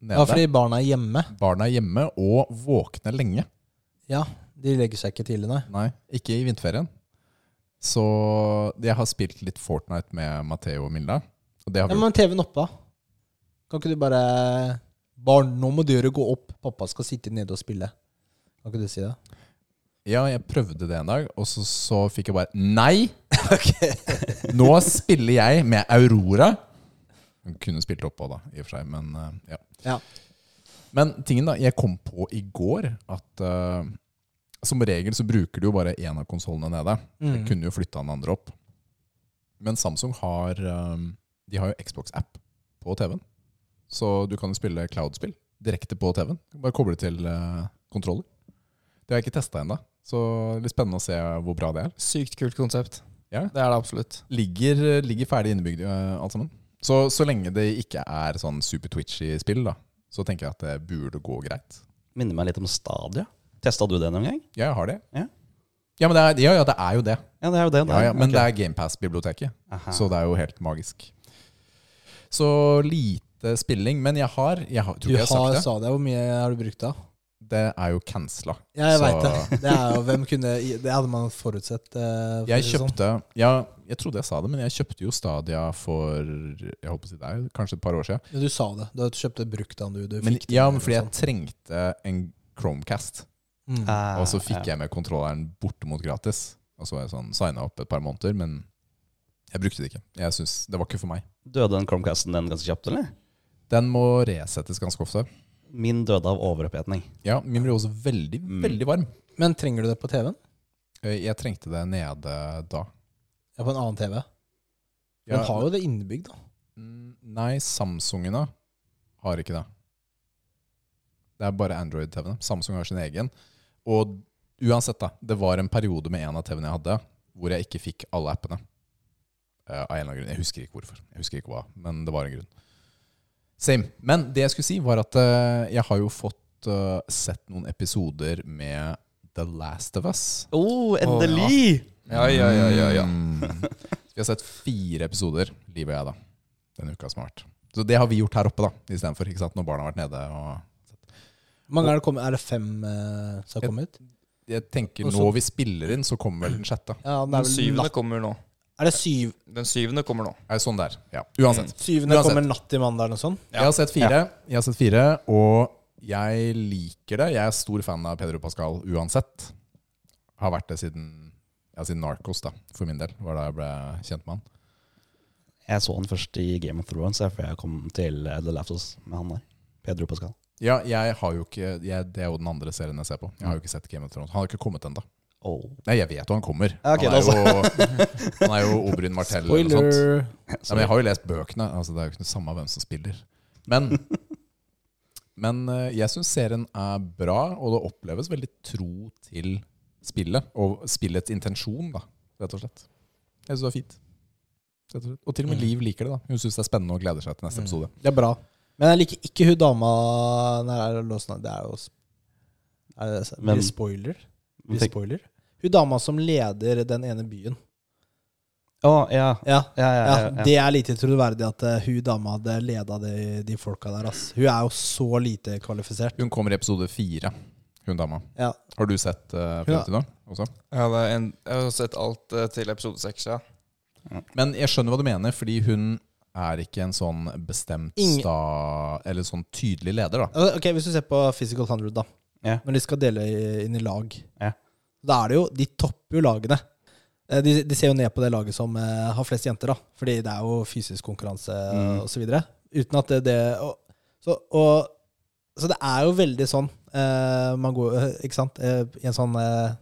Ja, nede. fordi barna er hjemme. Barna er hjemme og våkne lenge. Ja, De legger seg ikke tidlig, nei. Nei, ikke i vinterferien. Så jeg har spilt litt Fortnite med Matheo og Milda. Og det har Ja, vi men TV-en oppe, da. Kan ikke du bare Barn, nå må døra gå opp. Pappa skal sitte nede og spille. Kan ikke du si det? Ja, jeg prøvde det en dag, og så, så fikk jeg bare Nei! Nå spiller jeg med Aurora. Hun kunne spilt opp òg, da, i og for seg, men eh, ja. Ja. Men tingen, da. Jeg kom på i går at eh, som regel så bruker du jo bare én av konsollene nede. Jeg Mm. kunne jo flytta den andre opp. Men Samsung har eh, De har jo Xbox-app på TV-en. Så du kan jo spille cloud-spill direkte på TV-en. Bare koble til eh, kontroller. Det har jeg ikke testa ennå, så det blir spennende å se hvor bra det er. Sykt kult konsept. Ja. Det er det absolutt. Ligger, ligger ferdig innebygd, eh, alt sammen. Så, så lenge det ikke er sånn super twitchy spill, da, så tenker jeg at det burde gå greit. Minner meg litt om Stadia. Testa du det noen gang? Ja, jeg har det. Ja. Ja, men det er, ja, ja, det er jo det. Ja, det er jo det. Ja, ja, men det er GamePass-biblioteket. Så det er jo helt magisk. Så lite spilling, men jeg har Jeg har, tror Du ikke jeg har har, sagt det. sa det. Hvor mye har du brukt da? Det er jo cancela. Ja, jeg Så- veit det. Det, er jo, hvem kunne, det hadde man forutsett. eh, for å Jeg si det sånn. kjøpte Ja, jeg trodde jeg sa det, men jeg kjøpte jo Stadia for Jeg holdt på å si det er jo kanskje et par år siden. Men du sa det. Du kjøpte brukt den du, du Men, fikk. den, ja, eller men fordi jeg sånn. trengte en Chromecast, Mm. Ah, og så fikk ja. jeg med kontrolleren bortimot gratis. Og så var jeg sånn signa opp et par måneder, men jeg brukte det ikke. Jeg synes, Det var ikke for meg. Døde den Chromecasten den ganske kjapt, eller? Den må resettes ganske ofte. Min døde av overoppheting. Ja, Min ble også veldig, Mm. veldig varm. Men trenger du det på TV-en? Eh, Jeg trengte det nede da. Ja, på en annen TV. Den Ja, har jo det innebygd, da. Mm, Nei, Samsungene har ikke det. Det er bare Android-TV-ene. Samsung har sin egen. Og uansett, da. Det var en periode med en av TV-ene jeg hadde, hvor jeg ikke fikk alle appene. Eh, av en eller annen grunn. Jeg husker ikke hvorfor. Jeg husker ikke hva, men det var en grunn. Same. Men det jeg skulle si, var at eh, jeg har jo fått eh, sett noen episoder med The Last of Us. Å, endelig! Ja, ja, ja, ja, ja. Mm. Vi har sett fire episoder, Liv og jeg, da. Den uka som har vært. Så det har vi gjort her oppe, da, istedenfor ikke sant, når barna har vært nede. Og Hvor Mange er, det kommet, er det fem eh, som har Jeg- kommet ut? jeg tenker Og så- Nå vi spiller inn, så kommer vel den sjette. Ja, den Den er, vel syvende natt. kommer nå. er det syv, Den syvende kommer nå. Er det sånn der. Ja. Uansett. syvende Uansett. kommer natt til mandag eller noe sånt? Ja. Jeg har sett fire, jeg har sett fire og Jeg liker det. Jeg er stor fan av Pedro Pascal uansett. Har vært det siden, ja, siden Narcos, da, for min del. Var da jeg ble kjent med han. Jeg så han først i Game of Thrones, jeg, før jeg kom til eh, The Lapsos med han der. Pedro Pascal. Ja, jeg har jo ikke jeg, Det er jo den andre serien jeg ser på. Jeg har jo ikke sett Game of Thrones. Han har ikke kommet ennå. Oh. Nei, jeg vet jo han kommer. Ja, ok, han, er jo, han er jo Oberyn Martell eller noe sånt. Ja, men jeg har jo lest bøkene. Altså, det er jo ikke det samme hvem som spiller. Men, men eh, jeg syns serien er bra, og det oppleves veldig tro til spillet. Og spillets intensjon, da, rett og slett. Jeg syns det er fint. Rett og, slett. og til og med Liv liker det. da Hun syns det er spennende og gleder seg til neste episode. Det er bra. Men jeg liker ikke hun dama Nei, er det låsen av- Det er jo sp- er det, Blir Men- det spoiler? Blir Men det tenk- spoiler? Hun dama som leder den ene byen. Å, ja. Ja, Ja, ja, ja, ja, ja. Det er lite troverdig at eh, hun dama hadde leda de, de folka der. Ass. Hun er jo så lite kvalifisert. Hun kommer i episode fire, hun dama. Ja. Har du sett uh, frem Ja. til nå? Også? Jeg, hadde en, jeg har sett alt eh, til episode seks, ja. Men jeg skjønner hva du mener, fordi hun er ikke en sånn bestemt Ingen- sta... Eller sånn tydelig leder, da. Altså, Ok, Hvis du ser på Physical 100, da. Ja. Når de skal dele i- inn i lag. Ja. Da er det jo De topper jo lagene. Eh, De, de ser jo ned på det laget som eh, har flest jenter, da. Fordi det er jo fysisk konkurranse Mm. og osv. Uten at det, det og, så, og, så det er jo veldig sånn eh, Man går eh, ikke sant, eh, i en sånn eh,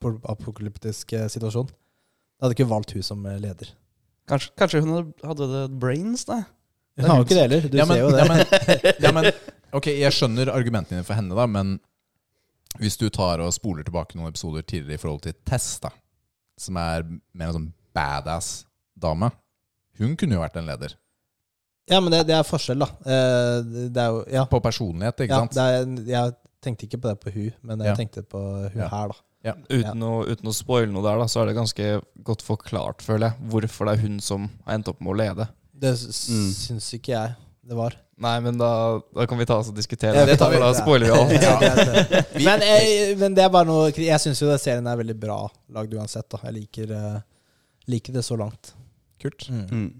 post-apokalyptisk eh, situasjon. Jeg hadde ikke valgt hun som eh, leder. Kanskje, kanskje hun hadde- hadde det brains, da? Hun har jo ikke det heller. Du Ja, men- ser jo det. Ja, men, ja, men, ok, jeg skjønner argumentene dine for henne, da, men hvis du tar og spoler tilbake noen episoder tidligere i forhold til Tess, da, som er mer en sånn badass dame, hun kunne jo vært en leder. Ja, men det, det er forskjell, da. Eh, det- det er jo Ja. På personlighet, ikke ja, sant? det er, jeg tenkte ikke på det på hun, men jeg Ja. tenkte på hun Ja. her, da. Uten, Ja. Å, uten å spoile noe der, da, så er det ganske godt forklart, føler jeg, hvorfor det er hun som har endt opp med å lede. Det s- Mm. syns ikke jeg det var. Nei, men da, da kan vi ta oss og diskutere Ja, det det, tar vi. for da spoiler vi alt. Ja, greit, det. men, jeg, men det er bare noe Jeg syns jo den serien er veldig bra lagd uansett. da Jeg liker, eh, liker det så langt. Kult. Mm.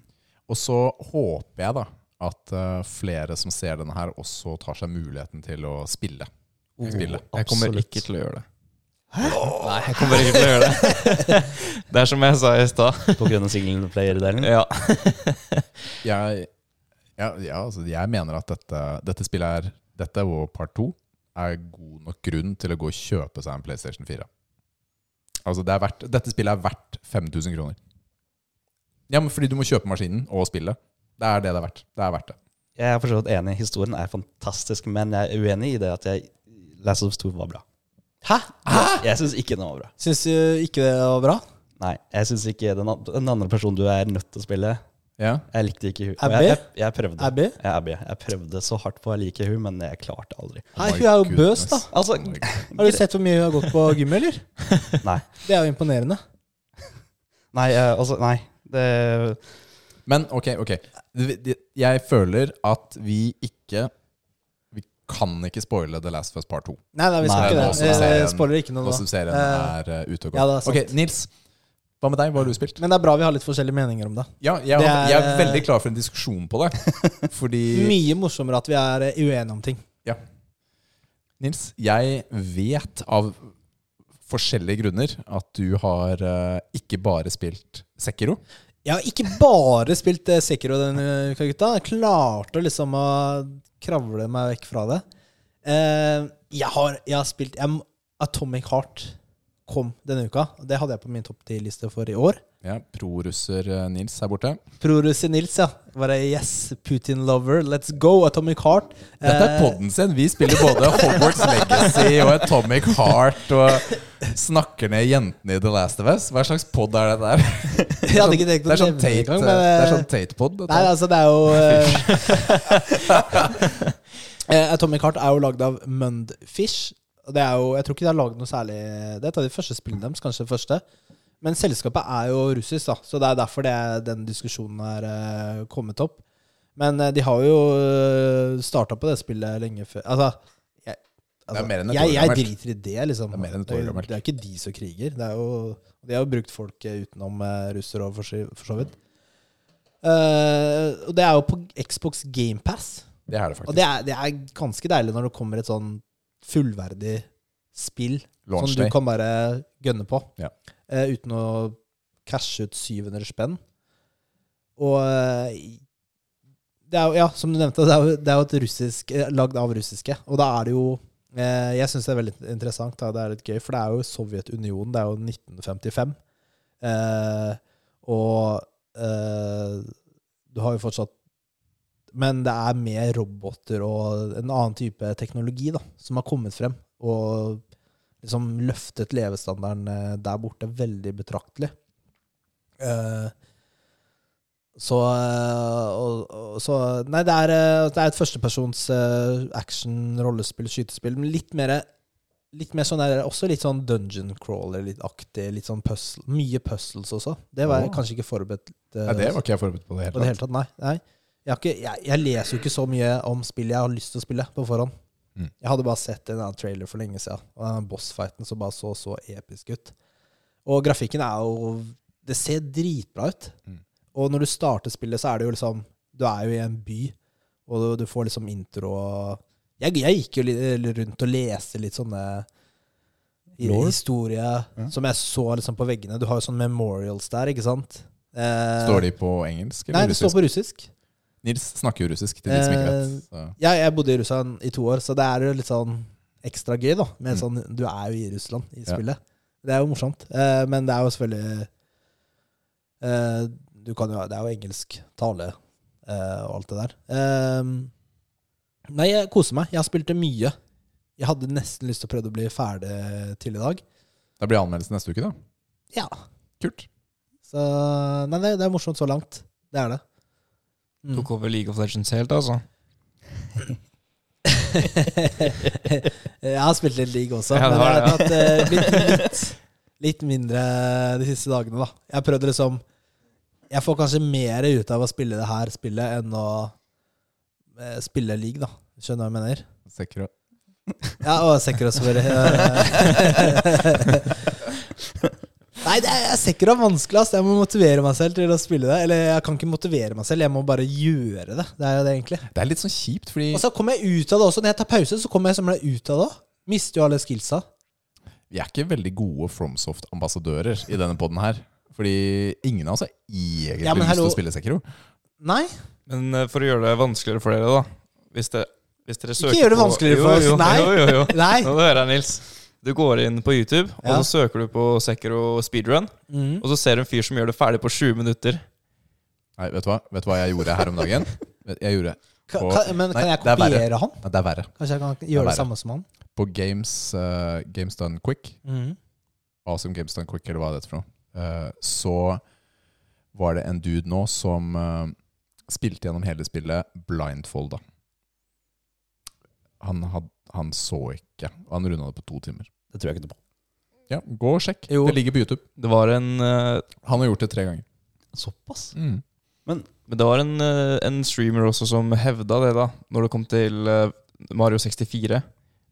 Og så håper jeg da at eh, flere som ser denne her, også tar seg muligheten til å spille. Spille. Jeg kommer Absolutt. ikke til å gjøre det. Nei, jeg kommer ikke til å gjøre det. Det er som jeg sa i stad. På grunn av single player-delen? Ja. Jeg, ja, ja, altså, jeg mener at dette, dette spillet er Dette og part 2 er god nok grunn til å gå og kjøpe seg en PlayStation 4. Altså, det er verdt, dette spillet er verdt 5000 kroner. Ja, men fordi du må kjøpe maskinen og spillet. Det er det det er verdt. Det er verdt det. Jeg er for så vidt enig. Historien er fantastisk, men jeg er uenig i det at jeg Last of Us 2 var bra. Hæ? Jeg syns ikke den var bra. Syns du ikke det var bra? Nei, jeg synes ikke den, an- den andre personen du er nødt til å spille Ja. Jeg likte ikke hun. Og Abby? Jeg, jeg, jeg prøvde. Abby? Ja, Abby. Jeg prøvde så hardt på å like hun, men jeg klarte aldri. Nei, my hun er jo goodness. bøs, da. Altså, Har du sett hvor mye hun har gått på gym, eller? Nei. Det er jo imponerende. nei, eh, altså, nei. Det, Men ok, ok. Det- det- Jeg føler at vi ikke Vi kan ikke spoile The Last of Us Part 2. Nei, nei, vi Nei, skal nå ikke som det. Eh, serien- Spoiler ikke noe Nå nå. som serien Eh, er eh, ute og går. ja, det er sant. ok, Nils. Hva med deg? Hva har du spilt? Men det er bra vi har litt forskjellige meninger om det. Ja, jeg, Det er- jeg er veldig klar for en diskusjon på det. Fordi Mye morsommere at vi er eh, uenige om ting. Nils, jeg vet av forskjellige grunner at du har eh, ikke bare spilt Sekiro. Jeg har ikke bare spilt eh, Sekiro denne uka, gutta. Jeg klarte liksom å kravle meg vekk fra det. Eh, jeg, har, jeg har spilt jeg, må- Atomic Heart kom denne uka. og Det hadde jeg på min topp 10-liste for i år. Ja, Prorusser eh, Nils her borte. Prorusser Nils, ja. Bare yes, Putin-lover, let's go, Atomic Heart. Dette er Eh, podden sin. Vi spiller både Hogwarts Legacy og Atomic Heart og snakker ned jentene i The Last of Us. Hva slags pod er det der? Eh, Jeg hadde ikke tenkt Det å er sånn nevne det Tate- engang, men det er eh, sånn Tate-pod. dette Nei, her. altså, det er jo eh, eh, Atomic Heart er jo lagd av Mundfish. Og det er jo, jeg tror ikke de har lagd noe særlig Det er et av de første spillene deres, kanskje det første. Men selskapet er jo russisk, da, så det er derfor det, den diskusjonen er eh, kommet opp. Men eh, de har jo starta på det spillet lenge før Altså, jeg, altså, Det er mer enn et jeg, år jeg gammelt. driter i det, liksom. Det er mer enn et er år jo- gammelt. det er ikke de som kriger. Det er jo, de har jo brukt folk eh, utenom eh, russere og for, så- for så vidt. Eh, og det er jo på Xbox GamePass. Det er Og det faktisk. det er, det er ganske deilig når det kommer et sånn fullverdig spill som Launch du day. kan bare gønne på. Ja. Eh, uten å cashe ut 700 spenn. Og eh, det er jo, ja, som du nevnte, det er jo, det er jo et russisk, eh, lagd av russiske. Og da er det jo eh, Jeg syns det er veldig interessant, da. det er litt gøy, for det er jo Sovjetunionen. Det er jo 1955. Eh, og eh, du har jo fortsatt men det er mer roboter og en annen type teknologi da, som har kommet frem, og liksom løftet levestandarden eh, der borte veldig betraktelig. Eh, så, eh, og, og, så Nei, det er, eh, det er et førstepersons eh, action, rollespill, skytespill, men litt mer Litt mer sånn der, også litt sånn dungeon crawler litt aktig. Litt sånn puzzle, mye puzzles også. Det var jeg Åh. kanskje ikke forberedt eh, Nei, det var ikke jeg forberedt på. det på det hele hele tatt. tatt, nei. nei. Jeg, har ikke, jeg, jeg leser jo ikke så mye om spill jeg har lyst til å spille på forhånd. Mm. Jeg hadde bare sett en annen trailer for lenge siden, og den bossfighten som bare så så episk ut. Og grafikken er jo Det ser dritbra ut. Mm. Og når du starter spillet, så er det jo liksom Du er jo i en by, og du, du får liksom intro og jeg, jeg gikk jo li- eh, rundt og leste litt sånne i- Lore? historie som jeg så liksom på veggene. Du har jo sånne memorials der, ikke sant? Eh, Står de på engelsk Nei, eller det står russisk? på russisk. Nils snakker jo russisk, til de som ikke vet. Så. Jeg, jeg bodde i Russland i to år, så det er jo litt sånn ekstra gøy, da. Med sånn, du er jo i Russland i Ja. spillet. Det er jo morsomt. Eh, men det er jo selvfølgelig eh, du kan jo, Det er jo engelsk tale eh, og alt det der. Eh, nei, jeg koser meg. Jeg har spilt det mye. Jeg hadde nesten lyst til å prøve å bli ferdig til i dag. Da blir anmeldelsen neste uke, da. Ja. Kult. Så Nei, det, det er morsomt så langt. Det er det. Mm. Tok over League of Legends helt, altså. jeg har spilt litt league også, Ja, det men har jeg har det, tatt eh, litt, litt, litt mindre de siste dagene, da. Jeg prøvde liksom Jeg får kanskje mer ut av å spille det her spillet enn å eh, spille league, da. Skjønner du hva jeg mener? Sikker. Ja, og Sekiro, sorry. Nei, det er Sekiro er vanskelig. ass. Jeg må motivere meg selv til å spille det. Eller jeg kan ikke motivere meg selv, jeg må bare gjøre det. Det er jo det, egentlig. Det er litt sånn kjipt, fordi Og så kommer jeg ut av det også. Når jeg tar pause, så kommer jeg som regel ut av det òg. Mister jo alle skillsa. vi er ikke veldig gode FromSoft-ambassadører i denne poden her. Fordi ingen av oss har egentlig Ja, men lyst til hallo. å spille Sekiro. Nei, Men eh, for å gjøre det vanskeligere for dere, da. Hvis, det, hvis dere søker gjør det på- vanskeligere for oss, Jo, jo, nei. jo, jo, jo. nei. Nå hører jeg, Nils. Du går inn på YouTube, Ja. og så søker du på Sekiro speedrun. Mm. Og så ser du en fyr som gjør det ferdig på 20 minutter. Nei, vet du hva Vet du hva jeg gjorde her om dagen? Jeg gjorde Ka- på- ka- men kan Nei, jeg det er verre. kopiere han? Nei, det er verre. Kanskje jeg kan er gjøre det verre. samme som han? På Games, eh, Games Done Quick, Mm. Awesome Games Done Quick, eller hva er dette for noe, Eh, så var det en dude nå som eh, spilte gjennom hele spillet blindfolda. Han, had, han så ikke. Han runda det på to timer. Det tror jeg ikke noe på. Ja, Gå og sjekk. Jo. Det ligger på YouTube. Det var en, eh, Han har gjort det tre ganger. Såpass? Mm. men det var en, eh, en streamer også som hevda det, da, når det kom til eh, Mario 64.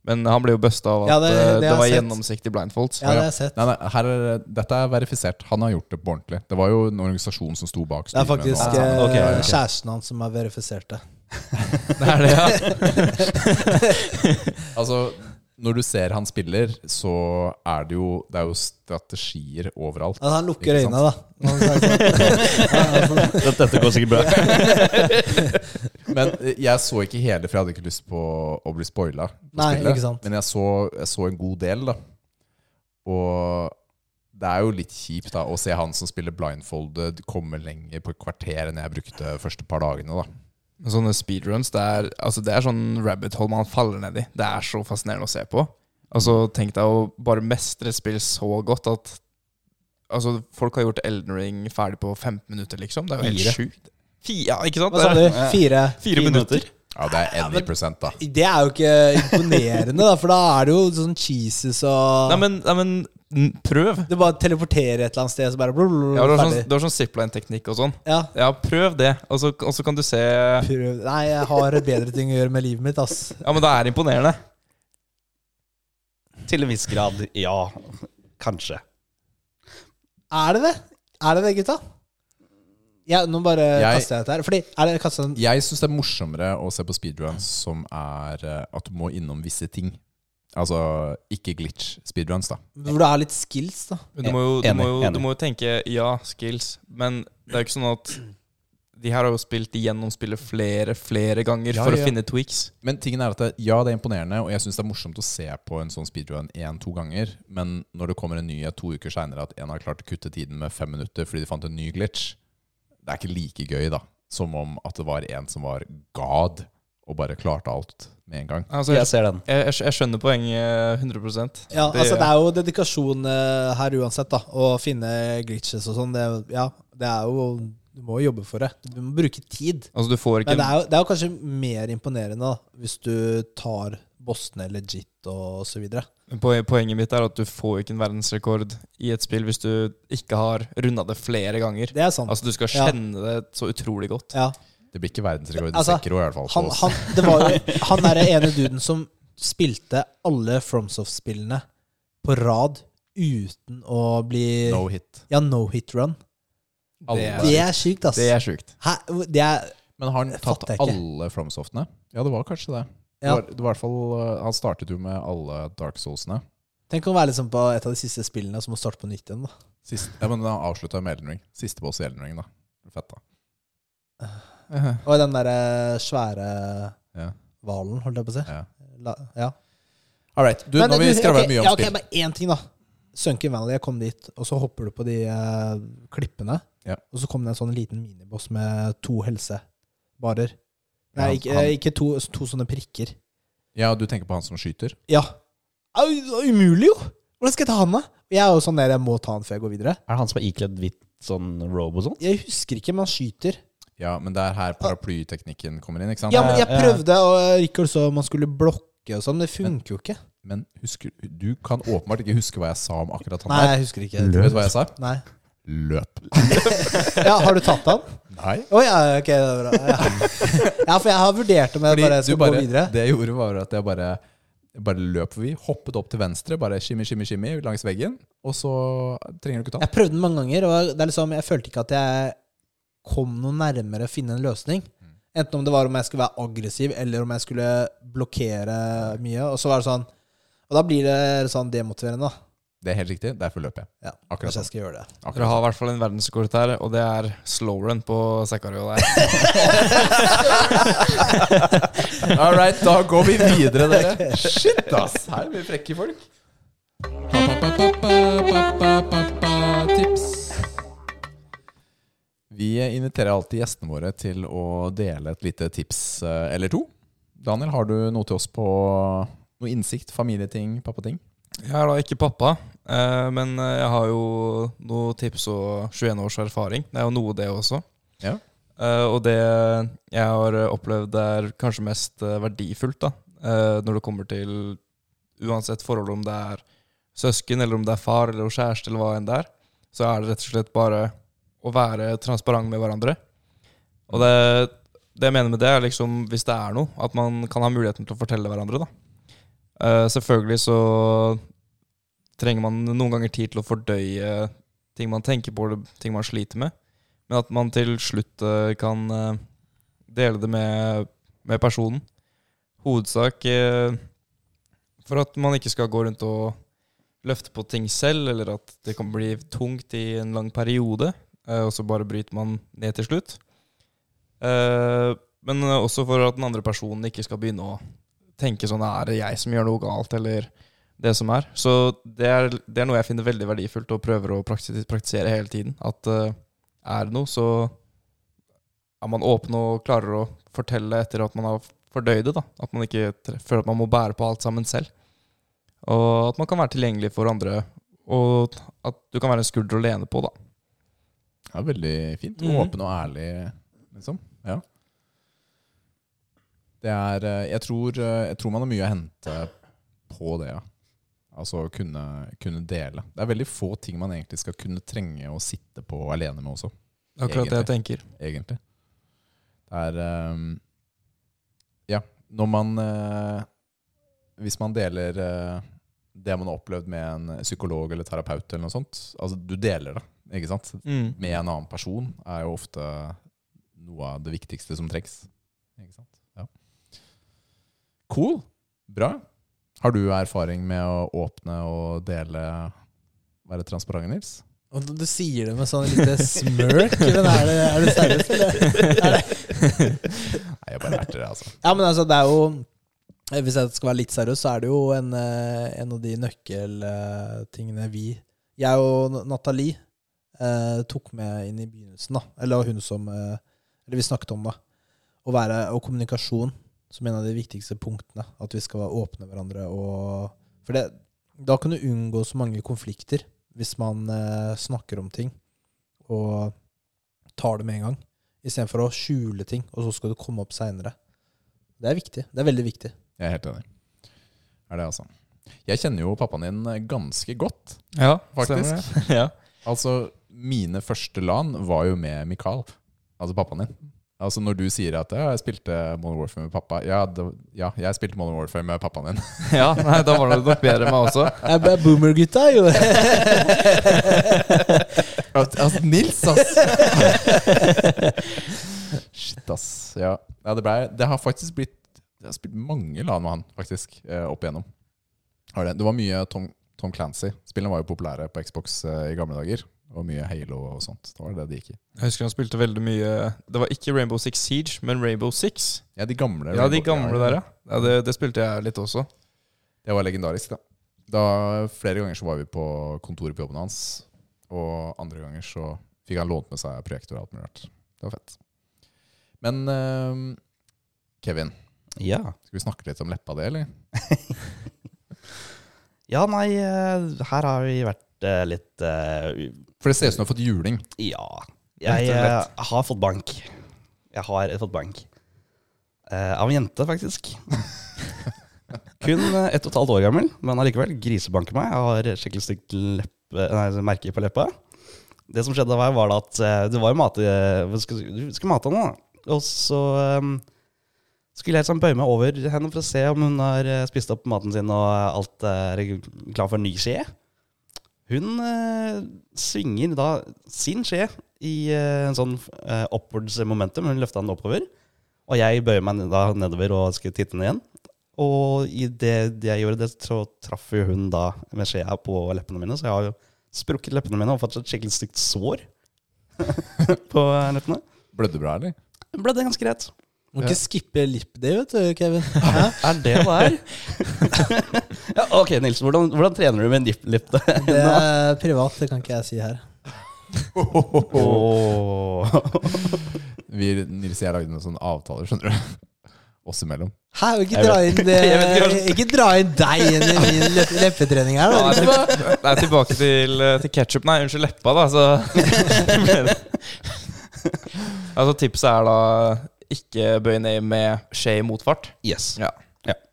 Men han ble jo busta av at Ja, det- eh, det det, har var jeg sett. gjennomsiktig blindfolds. Ja, det har jeg sett. Nei, nei, her er, det- dette er verifisert. Han har gjort det på ordentlig. Det var jo en organisasjon som sto bak. Det er streamen faktisk og alt eh, sammen. ok, ja, ok. kjæresten hans som har verifisert det. Det er det, ja. Altså, når du ser han spiller, så er det jo, det er jo strategier overalt. Altså, han lukker Ikke sant? øynene, da. Han sa sånn. Ja, altså, Dette, dette går sikkert bra. Men eh, jeg så ikke hele, for jeg hadde ikke lyst på å bli spoila. på Nei, spillet. ikke sant. Men jeg så, jeg så en god del, da. Og det er jo litt kjipt da å se han som spiller blindfolded, komme lenger på et kvarter enn jeg brukte første par dagene. da Men Sånne speedruns, det er, altså det er sånn rabbit hole man faller ned i. Det er så fascinerende å se på. Altså, tenk deg å bare mestre et spill så godt at Altså, folk har gjort Elden Ring ferdig på 15 minutter, liksom. Det er jo helt sjukt. Fi- Ja, ikke sant? Hva sa Det du? er Fire? Fire minutter. Ja, det er any prosent, da. Det er jo ikke imponerende, da, for da er det jo sånn cheeses og Nei, men, nei, men n- prøv. Du bare teleporterer et eller annet sted, så bare blub, Ja, du har sånn, ferdig. du har sånn zipline-teknikk og sånn. Ja. Ja, prøv det. Og så, og så kan du se Ja, Prøv. Nei, jeg har bedre ting å gjøre med livet mitt, ass. men det er imponerende. Til en viss grad, ja. Kanskje. Er det det? Er det det, gutta? Ja, nå bare Jeg- kaster jeg dette her. Fordi, er det kastet en Jeg syns det er morsommere å se på speedruns som er eh, at du må innom visse ting. Altså ikke glitch speedruns, da. Hvor du har litt skills, da. Men du må jo, du Enig, må jo, enig. du må jo tenke ja, skills, men det er jo ikke sånn at de her har jo spilt igjennom spillet flere, flere ganger Ja, for ja. å finne tweaks. Men tingen er at det, ja, det er imponerende, og jeg syns det er morsomt å se på en sånn speedrun én-to ganger, men når det kommer en nyhet to uker seinere at en har klart å kutte tiden med fem minutter fordi de fant en ny glitch, det er ikke like gøy da som om at det var en som var god og bare klarte alt med en gang. Altså, Jeg jeg, ser den. jeg, jeg skjønner poenget eh, 100 Ja, Det- altså Det er jo dedikasjon eh, her uansett, da. Å finne glitches og sånn. Det, ja, det er jo Du må jo jobbe for det. Du må bruke tid. Altså, du får ikke Men det er jo, det er jo kanskje mer imponerende da, hvis du tar bossene legit og så videre. Poe- Poenget mitt er at du får ikke en verdensrekord i et spill hvis du ikke har runda det flere ganger. Det er sant. Altså Du skal Ja. kjenne det så utrolig godt. ja. Det blir ikke verdensrekord i Altså, sekro, i hvert fall. på Han, oss. han, det var jo, han er den ene duden som spilte alle FromSoft-spillene på rad uten å bli no hit. Ja, no hit run. Det Alle. er- Det er sykt, ass. Det er sjukt. Hæ? Det er Men har han tatt fatter jeg ikke. alle FromSoftene? Ja, det var kanskje det. Det Ja. var, det var i hvert fall, eh, han startet jo med alle Dark Souls-ene. Tenk å være liksom på et av de siste spillene som må starte på nytt igjen. da Sist- Ja, men han avslutta med Elden Ring. Siste boss i Elden Ring, da. Fett, da. Og den derre svære Ja. hvalen, holdt jeg på å si. Ja. La, ja. All right. Du, Men nå har vi du- skravla ok, mye om ja, ok, spill. Bare én ting, da. Sunken Valley, jeg kom dit, og så hopper du på de eh, klippene. Ja. Og så kom det en sånn liten miniboss med to helsebarer. Nei, Ja, ikke, han- ikke to, to sånne prikker. Ja, du tenker på han som skyter? Ja. Au, Det var umulig, jo! Hvordan skal jeg ta han, da? Jeg er jo sånn der jeg må ta han før jeg går videre. Er det han som er ikledd hvitt sånn robe og sånn? Jeg husker ikke, men han skyter. Ja, men det er her paraplyteknikken kommer inn, ikke sant? Ja, men jeg ja. prøvde, og Rikard så man skulle blokke og sånn. men Det funker jo ikke. Men husker, du kan åpenbart ikke huske hva jeg sa om akkurat han Nei, der. jeg husker ikke. Vet du hva jeg sa? Nei. Løp. Ja, har du tatt han? Nei. Å ja, ok, det er bra. Ja. ja, for jeg har vurdert om jeg Fordi bare du skal bare, gå videre. det jeg gjorde, var at jeg bare, jeg bare løp forbi, hoppet opp til venstre, bare shimmy, shimmy, shimmy langs veggen, og så trenger du ikke ta den. Jeg prøvde den mange ganger, og det er liksom, jeg følte ikke at jeg kom noe nærmere å finne en løsning. Enten om det var om jeg skulle være aggressiv, eller om jeg skulle blokkere mye. Og så var det sånn Og da blir det sånn demotiverende, da. Det er helt riktig, derfor løper jeg. Ja, Akkurat sånn. Kanskje jeg skal gjøre det. Dere har i hvert fall en verdensrekord her, og det er slowrun på Sekario der. All right, da går vi videre, dere. Shit, ass. Her er vi frekke folk. Tips. Vi inviterer alltid gjestene våre til å dele et lite tips eh, eller to. Daniel, har du noe til oss på noe innsikt, familieting, pappating? Jeg er da ikke pappa, eh, men eh, jeg har jo noen tips og 21 års erfaring. Det er jo noe, det også. Ja. Eh, og det jeg har eh, opplevd er kanskje mest eh, verdifullt, da. eh, når det kommer til uansett forhold, om det er søsken, eller om det er far eller kjæreste, eller hva enn det er, så er det rett og slett bare å være transparent med hverandre. Og det, det jeg mener med det, er liksom hvis det er noe, at man kan ha muligheten til å fortelle hverandre, da. Eh, selvfølgelig så trenger man noen ganger tid til å fordøye ting man tenker på, eller ting man sliter med. Men at man til slutt eh, kan eh, dele det med, med personen. Hovedsak eh, for at man ikke skal gå rundt og løfte på ting selv, eller at det kan bli tungt i en lang periode, eh, og så bare bryter man ned til slutt. Eh, Men eh, også for at den andre personen ikke skal begynne å tenke sånn Er det jeg som gjør noe galt, eller det som er. Så det er, det er noe jeg finner veldig verdifullt og prøver å praktis praktisere hele tiden. At eh, er det noe, så er man åpen og klarer å fortelle etter at man har fordøyd det. da. At man ikke tre- føler at man må bære på alt sammen selv. Og at man kan være tilgjengelig for andre, og at du kan være en skulder å lene på. da. Ja, veldig fint. Mhm. Åpen og ærlig, liksom. Ja. Det er eh, Jeg tror, eh, jeg tror man har mye å hente på det, ja. Altså å kunne, kunne dele. Det er veldig få ting man egentlig skal kunne trenge å sitte på alene med også, Akkurat det jeg tenker. egentlig. Det er eh, Ja, når man eh, Hvis man deler eh, det man har opplevd med en psykolog eller terapeut eller noe sånt Altså, du deler det. ikke sant? Mm. med en annen person er jo ofte noe av det viktigste som trengs. Ikke sant? Ja. Cool. Bra. Har du erfaring med å åpne og dele Være transparent, Nils? Og du- du sier det med sånn lite smirk. Men er det, er det seriøst, eller? Er det? Nei, jeg bare lærte det, altså. Ja, men altså, det er jo eh, Hvis jeg skal være litt seriøs, så er det jo en, eh, en av de nøkkeltingene vi Jeg og Nathalie eh, tok med inn i begynnelsen, da. Eller hun som eh, Eller vi snakket om det. Å være, og kommunikasjon som en av de viktigste punktene. At vi skal være åpne hverandre og For det, da kan du unngå så mange konflikter hvis man eh, snakker om ting og tar det med en gang. Istedenfor å skjule ting, og så skal det komme opp seinere. Det er viktig. Det er veldig viktig. Jeg er helt enig. Er det, altså. Jeg kjenner jo pappaen din eh, ganske godt, Ja, faktisk. stemmer det. ja. Altså, mine første LAN var jo med Mikael, altså pappaen din. Altså Når du sier at ja, 'jeg spilte Modern Warfare med pappa' Ja, det, ja jeg spilte Modern Warfare med pappaen din. ja, nei, da var det nok bedre meg også. Jeg ble boomer-gutta, jo. Altså, Nils, ass! Shit, ass. Ja, ja det, ble, det har faktisk blitt Jeg har spilt mange LAN med han, faktisk, eh, opp igjennom. Har Det, det var mye Tom, Tom Clancy. Spillene var jo populære på Xbox eh, i gamle dager. Og mye Halo og sånt. Det var det det gikk i. Jeg husker han spilte veldig mye Det var ikke Rainbow Six Siege, men Rainbow Six. Ja, de gamle. Ja, de gamle der, ja. ja det, det spilte jeg litt også. Det var legendarisk, da. da. Flere ganger så var vi på kontoret på jobben hans, og andre ganger så fikk han lånt med seg projektor og alt mulig rart. Det var fett. Men eh, Kevin, Ja. skal vi snakke litt om leppa di, eller? ja, nei, eh, her har vi vært eh, litt eh, For det ser ut som du har fått juling. Ja. Jeg Rett og slett. eh, har fått bank. Jeg har fått bank. Eh, av en jente, faktisk. Kun eh, ett og et halvt år gammel, men allikevel grisebanker meg. Jeg har skikkelig stygt leppe, nei, merke på leppa. Det som skjedde her, var da at eh, det var jo mate, eh, skal, Du skal mate henne, da. Og så eh, skulle jeg liksom bøye meg over henne for å se om hun har eh, spist opp maten sin og alt eh, er klar for en ny skje. Hun eh, svinger da sin skje i eh, en sånn eh, upwards momentum. Hun løfta den oppover. Og jeg bøyer meg da nedover og skulle titte ned igjen. Og i det, det jeg gjorde, det så traff jo hun da med skjea på leppene mine. Så jeg har jo sprukket leppene mine og fått et skikkelig stygt sår på leppene. Blødde bra, eller? Ble det ganske greit. Må ikke skippe lip day, vet du, Kevin. Hæ? Er det det er? ja, ok, Nils. Hvordan, hvordan trener du med en dip lip? Det er privat, det kan ikke jeg si her. Vi, Nils og jeg lagde noen sånne avtaler, skjønner du. Oss imellom. Hæ, ikke dra inn, det, ikke dra inn deg inn i min lepp- leppetrening her. Nei, Da. tilbake, nei, tilbake til, eh, til ketsjup. Nei, unnskyld, leppa, da. Så altså, tipset er da ikke bøy ned med skje i motfart. Yes. Ja.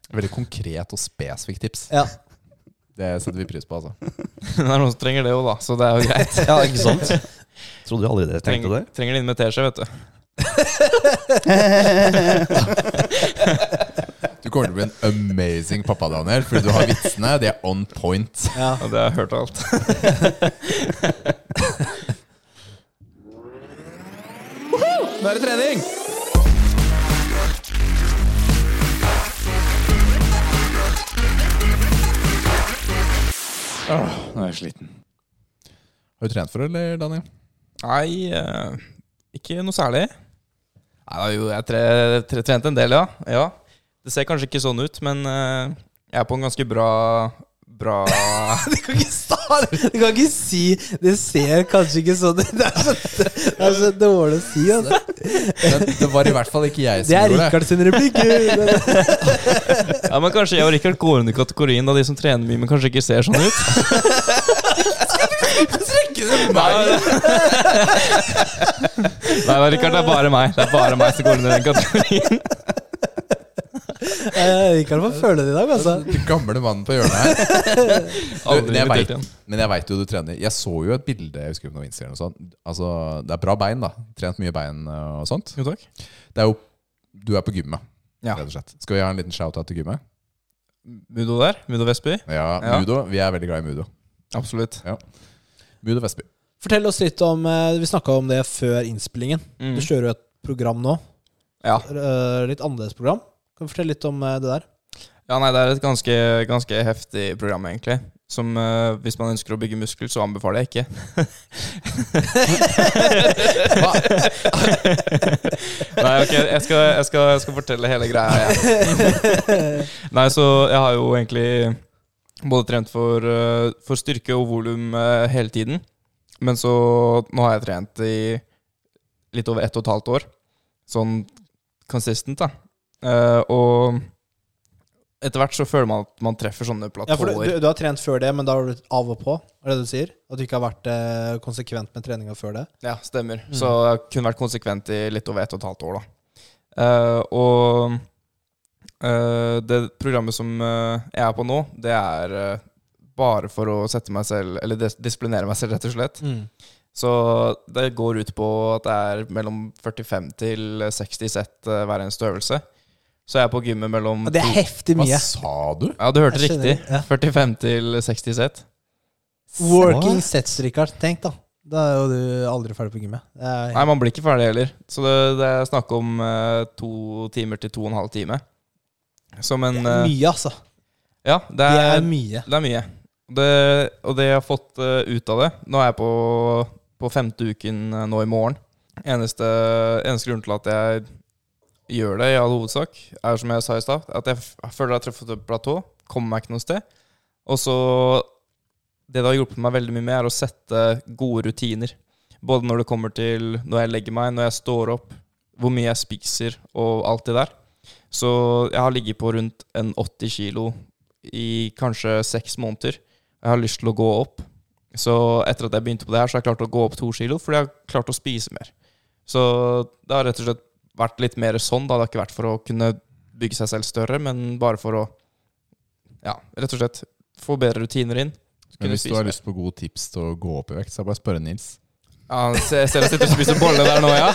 Veldig konkret og spesifikt tips. Ja. Det setter vi pris på, altså. Det er noen som trenger det òg, da. Så det er jo greit. Ja, ikke sant? Trodde jo aldri dere tenkte det. Trenger, trenger det inn med teskje, vet du. Du kommer til å bli en amazing pappa, Daniel, fordi du har vitsene. De er on point. Ja. Ja, det har jeg hørt alt. Nå er det trening! Nå er jeg sliten. Har du trent for det, eller, Daniel? Nei, eh, ikke noe særlig. Nei, da, jo, jeg tre, tre, trente en del, ja. ja. Det ser kanskje ikke sånn ut, men eh, jeg er på en ganske bra Bra Du kan ikke sa- du kan ikke si Det ser kanskje ikke sånn ut. Det er så, det er så dårlig å si. Altså. Men det var i hvert fall ikke jeg som Det er gjorde Rikard sin replikk. Ja, men Kanskje jeg og Rikard går under kategorien av de som trener mye, men kanskje ikke ser sånn ut. Nei, Nei, da, Rikard, det er bare meg. Det er bare meg som går under den kategorien. Eh, Rikard får føle det i dag, altså. Den gamle mannen på hjørnet her. Aldri Men jeg invitert vet- igjen. Men jeg veit jo du trener. Jeg så jo et bilde jeg husker ikke om det var Instagram og sånn. Altså, det er bra bein, da. Trent mye bein øh, og sånt. Jo, takk. Det er jo Du er på gymmet, Ja. rett og slett. Skal vi ha en liten shout-out til gymmet? Mudo der. Mudo Vestby. Ja, Ja. Mudo. Vi er veldig glad i Mudo. Absolutt. Mudo Vestby. Fortell oss litt om eh, Vi snakka om det før innspillingen. Mm. Du kjører jo et program nå. Ja. Eh, Litt annerledes program. Kan du fortelle litt om eh, det der? Ja, nei, det er et ganske, ganske heftig program, egentlig. Som eh, hvis man ønsker å bygge muskel, så anbefaler jeg ikke. Hva? nei, ok, jeg skal, jeg, skal, jeg skal fortelle hele greia. jeg. nei, så jeg har jo egentlig både trent for, eh, for styrke og volum eh, hele tiden. Men så nå har jeg trent i litt over ett og et halvt år. Sånn consistent, da. Eh, og etter hvert så føler man at man treffer sånne Ja, for platåer. du, du, du har trent før det, men da har du blitt av og på? Er det det du sier? At du ikke har vært eh, konsekvent med treninga før det? Ja, stemmer. Mm. Så jeg har kun vært konsekvent i litt over ett og et halvt år, da. Eh, og eh, det programmet som eh, jeg er på nå, det er eh, bare for å sette meg selv Eller dis disiplinere meg selv, rett og slett. Så det går ut på at det er mellom 45 til 60 sett eh, hver eneste øvelse. Så jeg er på gymmet mellom Ja, Det er to- heftig Hva mye. sa du? Ja, du hørte Jeg skjønner, riktig. ja. 45 til 60 sett. Working sets, Rikard. Tenk, da. Da er jo du aldri ferdig på gymmet. Det er- Nei, man blir ikke ferdig heller. Så det, det er snakk om eh, to timer til to og en halv time. Som en det er eh, mye, altså. Ja, det Det er, er mye. det er mye. Det, og det jeg har fått eh, ut av det Nå er jeg på, på femte uken eh, nå i morgen. Eneste, eneste grunn til at jeg gjør det, i all hovedsak, er som jeg sa i stad, at jeg f- føler jeg har truffet et platå. Kommer meg ikke noe sted. Og så Det det har hjulpet meg veldig mye med, er å sette gode rutiner. Både når det kommer til når jeg legger meg, når jeg står opp, hvor mye jeg spiser, og alt det der. Så jeg har ligget på rundt en 80 kilo i kanskje seks måneder. Jeg har lyst til å gå opp. Så etter at jeg begynte på det her, så har jeg klart å gå opp to kilo, fordi jeg har klart å spise mer. Så det har rett og slett vært litt mer sånn. Da. Det har ikke vært for å kunne bygge seg selv større, men bare for å Ja, rett og slett få bedre rutiner inn. Men Kunne hvis du spise har mer. lyst på gode tips til å gå opp i vekt, så er det bare å spørre Nils. Ja, jeg ser jeg ser jeg sitter og spiser bolle der nå, ja.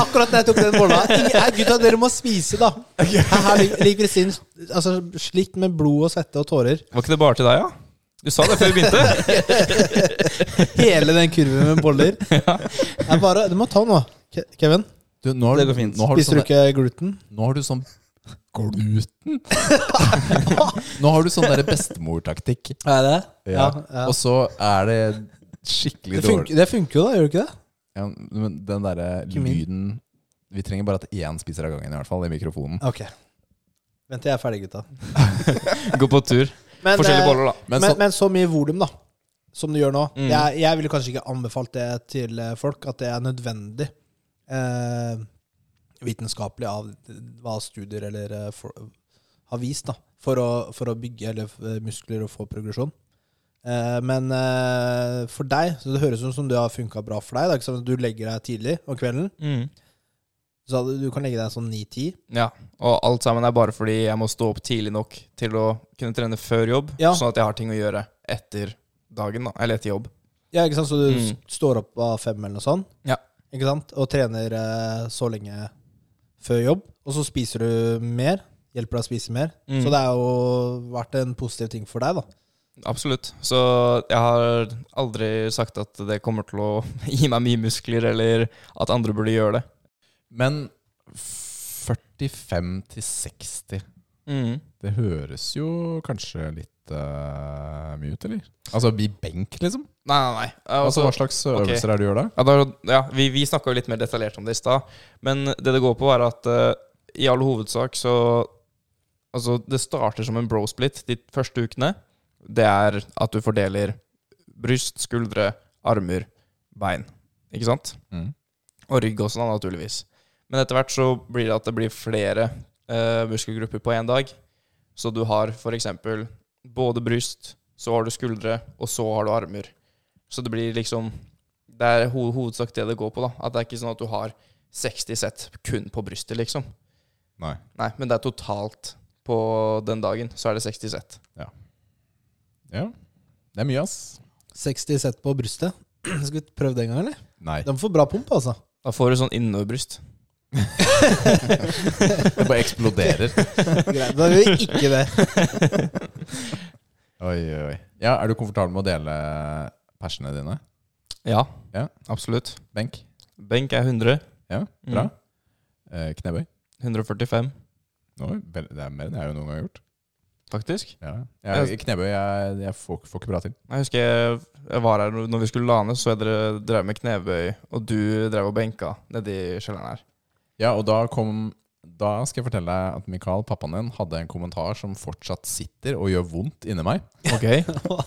Akkurat da jeg tok den bolla. Ingen- Nei, gutta, dere må spise, da. Her, her ligger- ligger prestinen altså, slikt med blod og svette og tårer. Var ikke det bare til deg, ja? Du sa det før vi begynte. Hele den kurven med boller. Det er bare, du må ta nå, Ke- Kevin. Du, nå har, Det går fint. Nå har, du Spiser du sånne, ikke gluten? nå har du sånn gluten. nå har du sånn derre bestemortaktikk. Er det? Ja, ja. Og så er det skikkelig Det, funker, dårlig. det funker jo, da. Gjør det ikke det? Ja, men den derre Ikke min. lyden Vi trenger bare at én spiser av gangen, i hvert fall, i mikrofonen. Ok. Vent til jeg er ferdig, gutta. Gå på tur. Men, Forskjellige eh, boller, da. Men, Men, så, men så mye volum, da, som du gjør nå Mm. jeg, jeg ville kanskje ikke anbefalt det til eh, folk, at det er nødvendig eh, vitenskapelig av hva studier eller eh, for, har vist, da, for å, for å bygge eller, eh, muskler og få progresjon. Eh, men eh, for deg, så det høres ut som du har funka bra for deg. Da, ikke sant? Du legger deg tidlig om kvelden, Mm. så du du kan legge deg sånn 9-10. Ja, og alt sammen er bare fordi jeg må stå opp tidlig nok til å kunne trene før jobb, Ja. sånn at jeg har ting å gjøre etter dagen, da, eller etter jobb. Ja, ikke sant? Så du Mm. s- står opp av fem eller noe sånt, Ja. ikke sant? og trener eh, så lenge før jobb. Og så spiser du mer, hjelper deg å spise mer. Mm. Så det har jo vært en positiv ting for deg, da. Absolutt. Så jeg har aldri sagt at det kommer til å gi meg mye muskler, eller at andre burde gjøre det. men 45 til 60 Mm. Det høres jo kanskje litt eh, mye ut, eller? Altså i benk, liksom? Nei, nei, nei. Altså, Altså, hva slags øvelser er det du gjør da? Ja, da, ja vi, vi snakka jo litt mer detaljert om det i stad, men det det går på, er at eh, i all hovedsak så Altså, det starter som en bro-split de første ukene. Det er at du fordeler bryst, skuldre, armer, bein. Ikke sant? Mm. Og rygg også, da, naturligvis. Men etter hvert så blir det at det blir flere eh, muskelgrupper på én dag. Så du har f.eks. både bryst, så har du skuldre, og så har du armer. Så det blir liksom Det er ho hovedsak det det går på, da. At det er ikke sånn at du har 60 sett kun på brystet, liksom. Nei. Nei, men det er totalt på den dagen, så er det 60 sett. Ja. Det er mye, ass. 60 sett på brystet. Skal vi prøve det en gang, eller? Nei. De får bra pump, altså. Da får du sånn innoverbryst. Det bare eksploderer. Greit. Da gjør vi ikke det. Oi, oi, oi. Ja, er du komfortabel med å dele persene dine? Ja, Ja. absolutt. Benk. Benk er 100. Ja, bra. Mm. Eh, knebøy. 145, Oi, vel, det er mer enn jeg jo noen gang har gjort. faktisk. Ja. Jeg, knebøy jeg, jeg får, får ikke bra til. Jeg husker jeg, jeg var her når vi skulle lane, så jeg dere drev med knebøy, og du drev og benka nedi kjelleren her. Ja, og da kom Da skal jeg fortelle deg at Mikael, pappaen din, hadde en kommentar som fortsatt sitter og gjør vondt inni meg. Ok,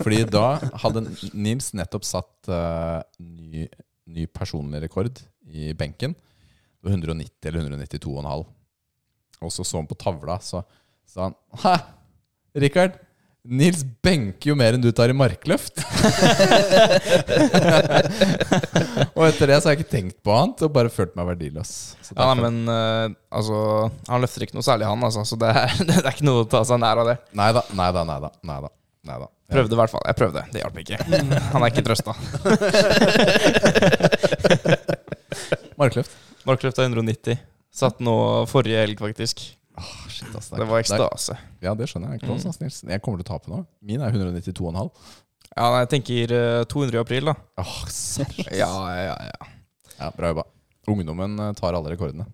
Fordi da hadde Nils nettopp satt eh, ny, ny personlig rekord i benken. Det var 190 eller 192,5. Og så så han på tavla, så sa han Hæ, Rikard! Nils benker jo mer enn du tar i markløft! og etter det så har jeg ikke tenkt på annet og bare følt meg verdiløs. Så ja, nei, derfor- men eh, altså Han løfter ikke noe særlig, han, altså, så det er, det er ikke noe å ta seg nær av det. Neida, neida, neida, neida, neida. Ja. Prøvde i hvert fall. Jeg prøvde, det hjalp ikke. Han er ikke trøsta. Markløft. Markløft er 190. Satt nå forrige helg, faktisk. Ah, Shit, ass, Det var er- ekstase. Ja, det skjønner jeg. Klos, ass, Nils. Jeg kommer til å tape nå. Min er 192,5. Ja, nei, jeg tenker eh, 200 i april, da. Åh, serr. Ja, ja, ja. Ja, bra jobba. Ungdommen eh, tar alle rekordene.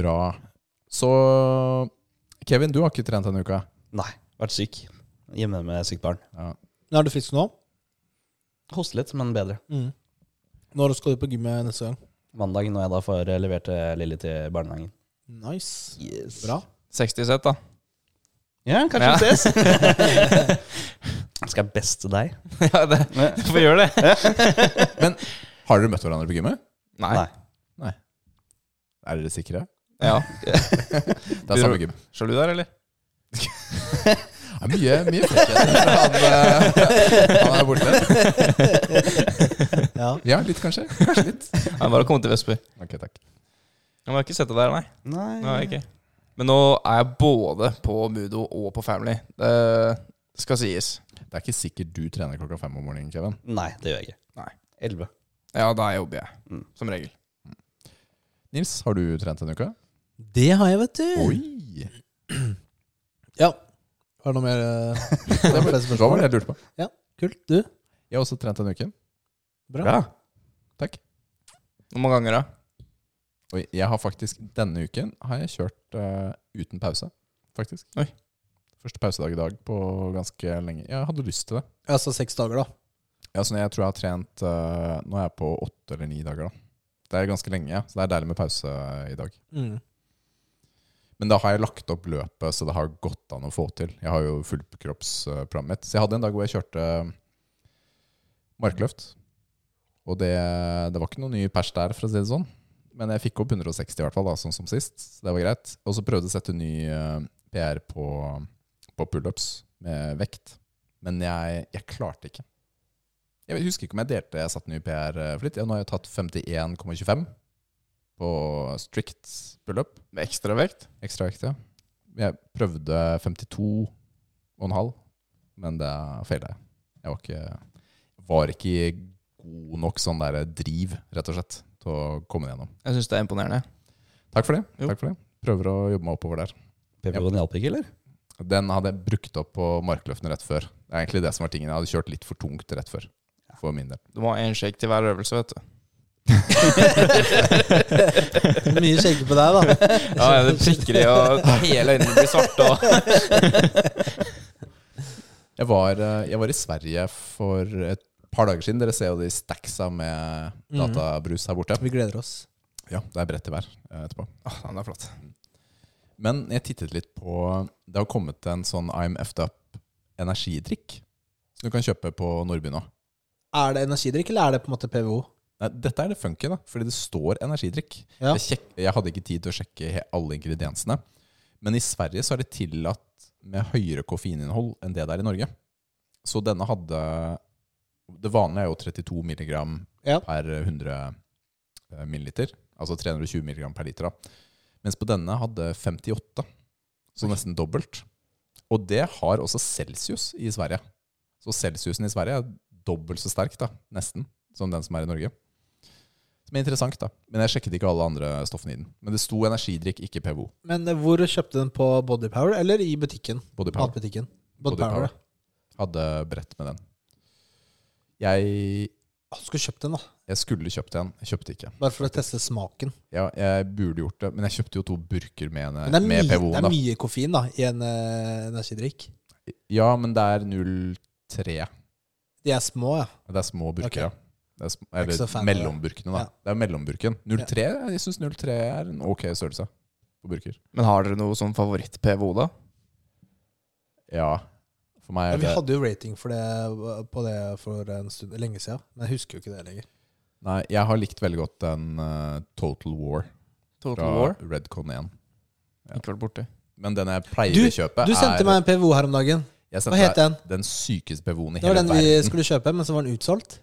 Bra. Så Kevin, du har ikke trent denne uka. Nei, vært syk. Hjemme med sykt barn. Men er du frisk nå? Hoste litt, men bedre. Når skal du på gymmet neste gang? Mandag, når jeg da får eh, levert eh, Lilly til barnehagen. Nice. Yes. Bra. 60 sett, da. Ja, kanskje Ja. vi ses. Skal jeg beste deg? ja, det, du får gjøre det. Har dere møtt hverandre på gymmet? Nei. Nei. Er dere sikre? Ja. Det er samme gym. Sjalu der, eller? Det er mye, mye frekkheter fra han, eh, han er borte. Ja. Ja, litt kanskje. Kanskje litt. Nei, bare å komme til Vestby. Ok, takk. Jeg må ikke sette deg der, nei. Nei. nei ikke. Men nå er jeg både på Mudo og på Family. Det skal sies. Det er ikke sikkert du trener klokka fem om morgenen, Kevin. Nei, det gjør jeg ikke. Nei. Elleve. Ja, da jobber jeg, Mm. som regel. Nils, har du trent denne uka? Det har jeg, vet du. Mm. Oi! Ja. Har du noe mer eh, Det var det var det jeg lurte på. kult? Du? Jeg har også trent denne uken. Bra. Takk. Hvor mange ganger, da? Og jeg har faktisk denne uken har jeg kjørt eh, uten pause, faktisk. Oi. Første pausedag i dag på ganske lenge. Jeg hadde lyst til det. Altså seks dager, da. Ja, så jeg tror jeg har trent eh, Nå er jeg på åtte eller ni dager, da. Det er ganske lenge, ja. så det er deilig med pause eh, i dag. Mm. Men da har jeg lagt opp løpet, så det har gått an å få til. Jeg har jo fullkroppsprogrammet mitt. Så jeg hadde en dag hvor jeg kjørte eh, markløft. Og det, det var ikke noen ny pers der, for å si det sånn. Men jeg fikk opp 160 i hvert fall, da, sånn som sist. Så det var greit. Og så prøvde jeg å sette ny eh, PR på, på pullups med vekt. Men jeg, jeg klarte ikke. Jeg husker ikke om jeg delte jeg satte ny PR for litt. Ja, nå har jeg tatt 51,25 på strict pullup. Med ekstra vekt? Ekstra vekt, ja. Jeg prøvde 52,5, men det feila jeg. Jeg var ikke, var ikke i god nok sånn der driv, rett og slett, til å komme det gjennom. Jeg syns det er imponerende. Takk for det. Jo. Takk for det. Prøver å jobbe meg oppover der. Pepperonen hjalp ikke, eller? Den hadde jeg brukt opp på markløftene rett før. Det er egentlig det som var tingen. Jeg hadde kjørt litt for tungt rett før. For min del. Du må ha én shake til hver øvelse, vet du. Mye skjegg på deg, da. Ja, ja, det prikker i, og hele øynene blir svarte. Og... Jeg var, eh, jeg var i Sverige for et par dager siden. Dere ser jo de stacksa med Mhm. databrus her borte. Vi gleder oss. Ja, det er bredt i hver eh, etterpå. Åh, den er flott. Men jeg tittet litt på Det har kommet en sånn I'm effed up energidrikk som du kan kjøpe på Nordby nå. Er det energidrikk, eller er det på en måte PVO? Nei, dette er det funky, da, fordi det står energidrikk. Ja. Jeg, sjek- jeg hadde ikke tid til å sjekke he- alle ingrediensene. Men i Sverige så er det tillatt med høyere koffeininnhold enn det det er i Norge. Så denne hadde Det vanlige er jo 32 milligram Ja. per 100 milliliter. Altså 320 milligram per liter. da. Mens på denne hadde 58. Så nesten dobbelt. Og det har også Celsius i Sverige. Så Celsiusen i Sverige er dobbelt så sterk, da, nesten, som den som er i Norge. Som er interessant, da. Men jeg sjekket ikke alle andre stoffene i den. Men det sto energidrikk, ikke PVO. Men eh, hvor kjøpte den på Bodypower, eller i butikken? Body Power Matbutikken. Body Bodypower. Power. hadde brett med den. Jeg, Å, Ah, Skulle kjøpt den, da. jeg skulle kjøpt en, jeg kjøpte ikke. Bare for å teste smaken. Ja, jeg burde gjort det, men jeg kjøpte jo to burker med, Men det er mye, med det PVO-en. er da. mye koffein da i en eh, energidrikk. Ja, men det er 0,3. De er små, ja. Det er små burker, Ok. ja. Det er sm er ikke så fan av eller det. mellomburkene, da. Ja. Det er mellomburken. 0,3 Jeg syns 0,3 er en ok størrelse på burker. Men har dere noe sånn favoritt-PVO, da? Ja. For meg Men er vi det hadde jo rating for det, på det for en stund, lenge siden, men jeg husker jo ikke det lenger. Nei, jeg har likt veldig godt den eh, Total War Total fra War? Redcon 1. Ja. Ikke vært borti. Men den jeg pleier Du- å kjøpe, Du sendte er meg en PVO her om dagen. jeg Hva sendte het deg den? den sykeste PVO-en i Det var hele den vi verden. skulle kjøpe, men så var den utsolgt.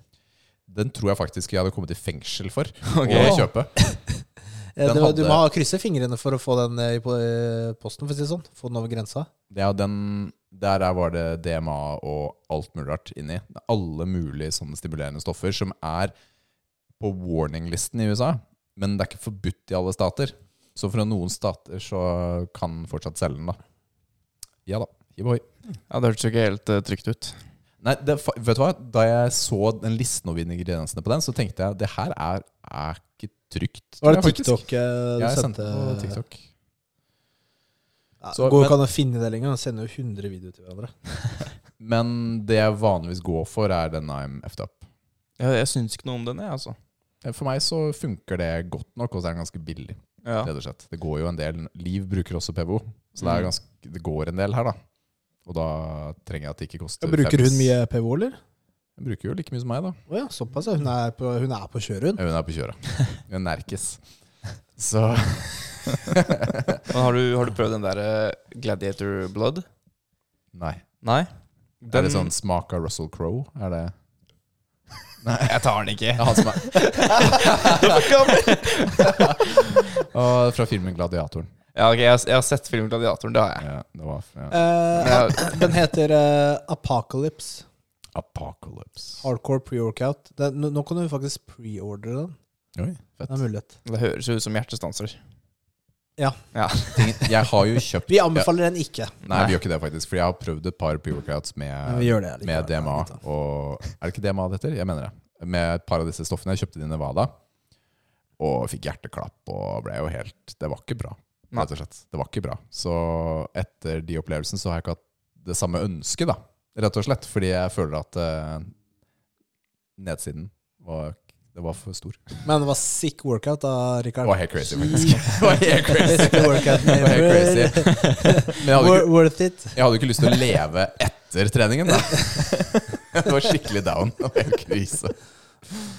Den tror jeg faktisk jeg hadde kommet i fengsel for Ok. å kjøpe. Eh, Den det var, du må hadde- ha krysse fingrene for å få den eh, i po- eh, posten, for å si det sånn. Få den over grensa. Ja, den, der er- var det DMA og alt mulig rart inni. Det er Alle mulige sånne stimulerende stoffer som er på warning-listen i USA, men det er ikke forbudt i alle stater. Så fra noen stater så kan fortsatt selge den, da. Ja da. hiv ohoi. Ja, det hørtes jo ikke helt eh, trygt ut. Nei, det, fa- vet du hva? Da jeg så den listen over ingrediensene på den, så tenkte jeg det her er, er ikke trygt. tror Var det jeg faktisk. TikTok eh, du Ja, jeg sendte sendte? på TikTok. Ja, Så- går men- ikke an å finne det lenger. Man sender jo 100 videoer til hverandre. Men det jeg vanligvis går for, er den I'm effed up. Eh, Ja, jeg syns ikke noe om den, jeg, altså. For meg så funker det godt nok, og så er den ganske billig. Ja. rett og slett. Det går jo en del Liv bruker også PVO, så det, er Mm. ganske, det går en del her, da. Og da trenger jeg at det ikke koster Bruker fem- hun mye PVO, eller? Hun bruker jo like mye som meg, da. Å ja, såpass. ja. Hun er på, hun er på kjøret, hun. Ja, Hun er på kjøret. Hun er nerkes. Så Men har du, har du prøvd den der eh, Gladiator Blood? Nei. Nei? Er det sånn smak av Russell Crowe? Er det Jeg tar den ikke. Ja, han som er ja, Å, Fra filmen 'Gladiatoren'. ok, jeg, har- jeg har sett filmen Gladiatoren, det har jeg. Ja, det var fra Eh, Men jeg den heter eh, Apocalypse. Apocalypse. Hardcore pre-workout. Den- Nå nå kan du faktisk pre-ordre den. Oi, Det er fett. mulighet. det høres jo ut som hjertestanser. Jeg har jo kjøpt Vi anbefaler den ikke. Nei, vi gjør ikke det, faktisk. For jeg har prøvd et par pre-workouts med Men vi gjør det. med likevel. DMA og Er det ikke DMA det heter? Jeg mener det. Med et par av disse stoffene. Jeg kjøpte det i Nevada og fikk hjerteklapp og ble jo helt Det var ikke bra, Nei. rett og slett. Det var ikke bra. Så etter de opplevelsene så har jeg ikke hatt det samme ønsket, da. Rett og slett. Fordi jeg føler at eh, nedsiden var det var for stor. Det Men det var sick workout da, Rikard. var helt crazy, faktisk. Det var helt crazy. Beste workouten Det var helt ever. crazy. Men jeg hadde, Wor- ikke, Worth it. jeg hadde ikke lyst til å leve etter treningen, da. Det var skikkelig down. Det var helt krise.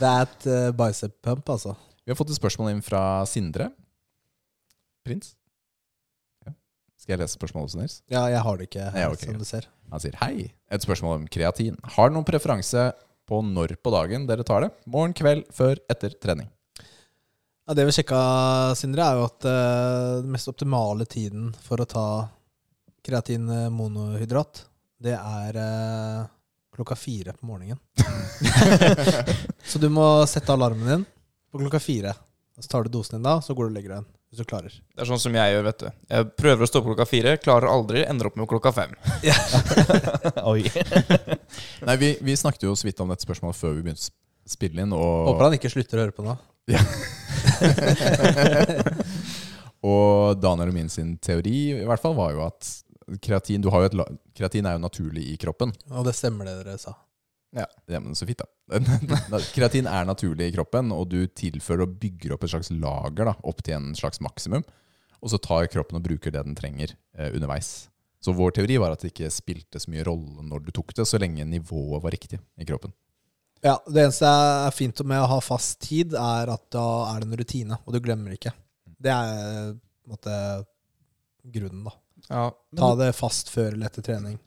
That eh, bicep pump, altså. Vi har fått et spørsmål inn fra Sindre. Prins. Ja. Skal jeg lese spørsmålet også, Nils? Ja, jeg har det ikke her, Ja, ok, som greit. du ser. Han sier hei. Et spørsmål om kreatin. Har noen preferanse på når på dagen dere tar det? Morgen, kveld, før, etter trening? Ja, det vi sjekka, Sindre, er jo at eh, den mest optimale tiden for å ta kreatin eh, monohydrat, det er eh, klokka fire på morgenen. så du må sette alarmen din på klokka fire. Og Så tar du dosen din da, så går du og legger deg igjen. Hvis du klarer. Det er sånn som jeg gjør, vet du. Jeg prøver å stå opp klokka fire, klarer aldri, ender opp med klokka fem. Oi. Nei, vi, vi snakket jo så vidt om dette spørsmålet før vi begynte å sp- spille inn, Håper og, han ikke slutter å høre på nå. og Daniel og min sin teori i hvert fall var jo at kreatin, du har jo et, la- kreatin er jo naturlig i kroppen. Og det stemmer, det dere sa. Ja, men så fint, da. Kreatin er naturlig i kroppen, og du tilfører og bygger opp et slags lager da, opp til en slags maksimum. Og så tar kroppen og bruker det den trenger eh, underveis. Så vår teori var at det ikke spilte så mye rolle når du tok det, så lenge nivået var riktig i kroppen. Ja, Det eneste er fint med å ha fast tid, er at da er det en rutine, og du glemmer ikke. Det er på en måte grunnen, da. Ja, Ta det fast før eller etter trening.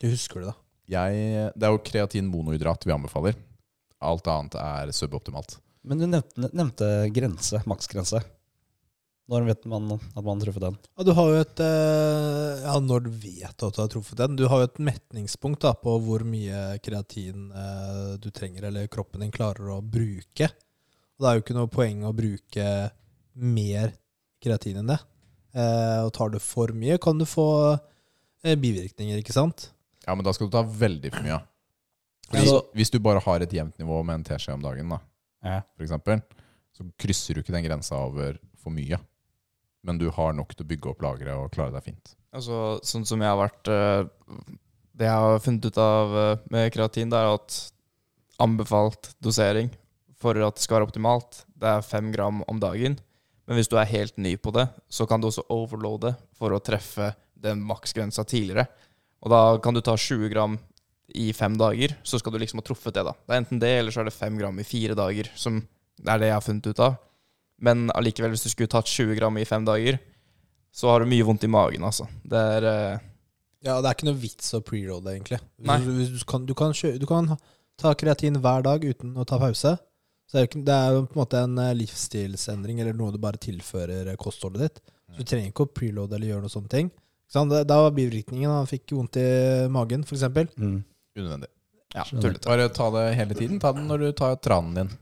Du husker det, da. Jeg, det er jo kreatin monohydrat vi anbefaler. Alt annet er suboptimalt. Men du nevnte, nevnte grense, maksgrense. Når vet man at man har truffet den? Ja, du har jo et eh, Ja, når du vet at du har truffet den. Du har jo et metningspunkt da, på hvor mye kreatin eh, du trenger, eller kroppen din klarer å bruke. Og det er jo ikke noe poeng å bruke mer kreatin enn det. Eh, og tar du for mye, kan du få eh, bivirkninger, ikke sant? Ja, men da skal du ta veldig for mye. Fordi Ja, så- Hvis du bare har et jevnt nivå med en teskje om dagen, da, Ja. for eksempel, så krysser du ikke den grensa over for mye. Men du har nok til å bygge opp lageret og klare deg fint. Altså, sånn som jeg har vært eh, Det jeg har funnet ut av eh, med kreatin, det er at anbefalt dosering for at det skal være optimalt, det er fem gram om dagen. Men hvis du er helt ny på det, så kan du også overloade for å treffe den maksgrensa tidligere. Og da kan du ta 20 gram i fem dager, så skal du liksom ha truffet det, da. Det er enten det, eller så er det fem gram i fire dager, som det er det jeg har funnet ut av. Men allikevel, hvis du skulle tatt 20 gram i fem dager, så har du mye vondt i magen, altså. Det er eh, Ja, det er ikke noe vits å preroade, egentlig. Nei. Du, du, kan, du, kan kjø, du kan ta kreatin hver dag uten å ta pause. Så det er, jo ikke, det er jo på en måte en eh, livsstilsendring, eller noe du bare tilfører eh, kostholdet ditt. Så du trenger ikke å preloade eller gjøre noe sånne ting. Ikke sant? Det- Da var bivirkningen han fikk vondt i magen, for eksempel. Mm. Unødvendig. ja, tullete. Bare ta det hele tiden. Ta den når du tar tranen din.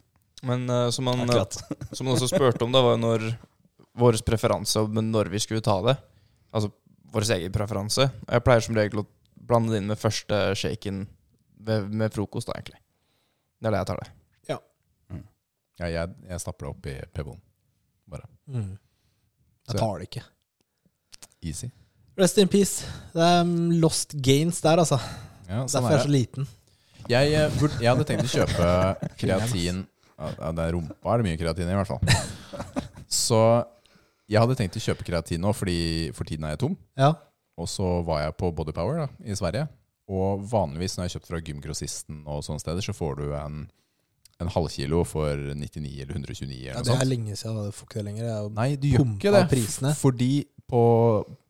Men eh, som, han, eh, Akkurat. som han også spurte om, da, var jo når vår preferanse om når vi skulle ta det. Altså vår egen preferanse. Og jeg pleier som regel å blande det inn med første shaken ved, med frokost, da, egentlig. Det er det jeg tar det. Ja, jeg, jeg stapper det opp i Pebon. Mm. Så- Jeg tar det ikke. Easy. Rest in peace. Det er mm, lost gains der, altså. Ja, sånn Derfor er jeg er det. så liten. Jeg, eh, burde, jeg hadde tenkt å kjøpe kreatin ja, ja, Det er rumpa er det mye kreatin i, i hvert fall. Så jeg hadde tenkt å kjøpe kreatin nå, fordi for tiden er jeg tom. Ja. Og så var jeg på Bodypower da, i Sverige. Og vanligvis når jeg kjøpte fra gymgrossisten og sånne steder, så får du en, en halvkilo for 99 eller 129 eller ja, noe det er sånt. lenge siden. Jeg får ikke det lenger. Jeg. Nei, du gjør Pumpa ikke det. prisene. F- Fordi på,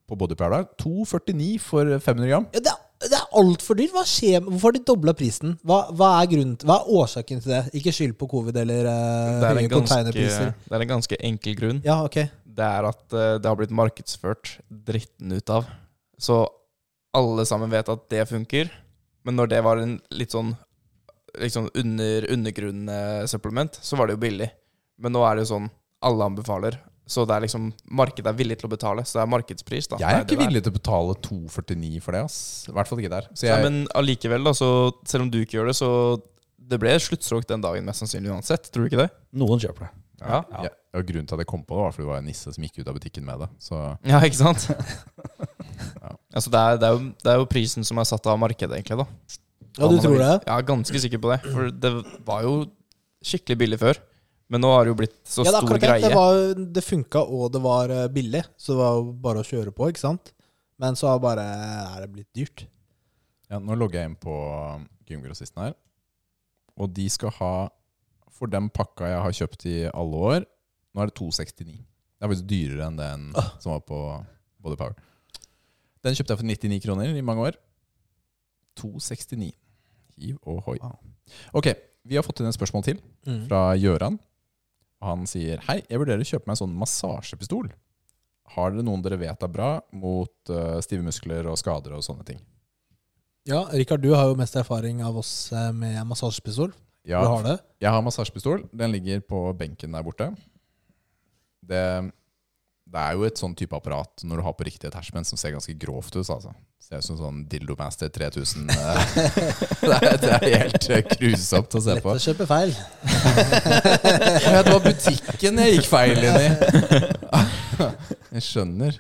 på Bodypower der 2,49 for 500 gram. Ja, det er, det er altfor dyrt. Hva skjer? med- Hvorfor har de dobla prisen? Hva, hva, er grunnen, til- hva er årsaken til det? Ikke skyld på covid eller eh, Det er høye en ganske, containerpriser. det er en ganske enkel grunn. Ja, ok. det er at eh, det har blitt markedsført dritten ut av. Så alle sammen vet at det funker, men når det var en litt sånn liksom under undergrunn-supplement, så var det jo billig. Men nå er det jo sånn alle anbefaler. Så det er liksom, markedet er villig til å betale, så det er markedspris. da. Jeg er ikke villig til å betale 2,49 for det. ass. I hvert fall ikke der. Så Nei, jeg, men allikevel, da, så selv om du ikke gjør det, så det ble sluttstrøk den dagen mest sannsynlig uansett. Tror du ikke det? Noen kjøper det. Ja. Ja. Ja, og grunnen til at jeg kom på det, var fordi det var en nisse som gikk ut av butikken med det. Så Ja, ikke sant? Altså, det er, det, er jo, det er jo prisen som er satt av markedet, egentlig, da. Ja, du tror det? Jeg er ganske sikker på det. For det var jo skikkelig billig før. Men nå har det jo blitt så Ja, det er stor akkurat det. greie. Det, var, det funka, og det var eh, billig. Så det var jo bare å kjøre på, ikke sant? Men så har bare, er det blitt dyrt. ja, nå logger jeg inn på um, gymgrossisten her. Og de skal ha, for den pakka jeg har kjøpt i alle år, nå er det 2,69. Det er faktisk dyrere enn den Ah. som var på Body Power. Den kjøpte jeg for 99 kroner i mange år. 2,69. Hiv og hoi. Wow. Ok, vi har fått inn et spørsmål til. Mm. fra Gjøran. Og han sier Hei, jeg vurderer å kjøpe meg en sånn massasjepistol. Har dere noen dere vet er bra mot eh, stive muskler og skader og sånne ting? Ja, Rikard, du har jo mest erfaring av oss eh, med massasjepistol. Ja, Du har det? jeg har massasjepistol. Den ligger på benken der borte. Det, det er jo et sånn type apparat når du har på riktig attachment som ser ganske grovt ut. altså. Ser ut som sånn Dildomaster 3000. eh. det, er, det er helt eh, grusomt å se Lett på. å kjøpe feil. Ja, det var butikken jeg gikk feil inn i. Jeg skjønner.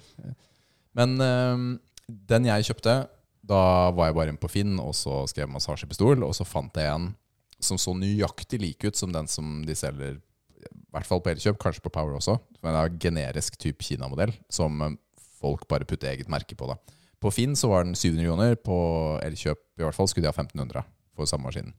Men øhm, den jeg kjøpte, da var jeg bare inne på Finn og så skrev massasjepistol, og så fant jeg en som så nøyaktig lik ut som den som de selger, i hvert fall på Elkjøp, kanskje på Power også. Men det er generisk type Kina-modell som øhm, folk bare putter eget merke på. da. På Finn så var den 700 kroner, på Elkjøp i hvert fall skulle de ha 1500 for samme maskinen.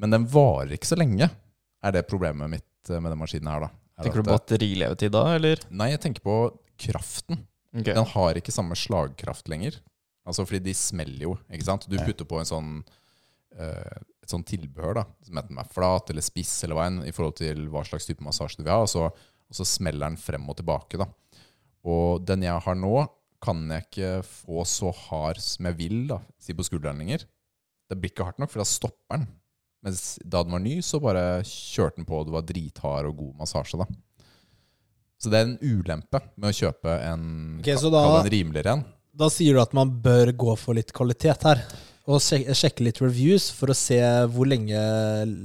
Men den varer ikke så lenge, er det problemet mitt eh, med den maskinen her, da. Er Tenker at, du batterilevetid da, eller? eh, Nei, jeg tenker på kraften. Ok. Den har ikke samme slagkraft lenger. Altså fordi de smeller jo, ikke sant. Du putter på en sånn eh, et sånn tilbehør, da. Som enten er flat eller spiss eller veien, i forhold til hva slags type massasje du vil ha. Og så, og så smeller den frem og tilbake, da. Og den jeg har nå, kan jeg ikke få så hard som jeg vil, da. Si på skulderen lenger. Det blir ikke hardt nok, for da stopper den. Mens da den var ny, så bare kjørte den på, og det var drithard og god massasje, da. Så det er en ulempe med å kjøpe en, Ok, så kall det da- en rimeligere en. Da sier du at man bør gå for litt kvalitet her. Og sjek- sjekke litt reviews for å se hvor lenge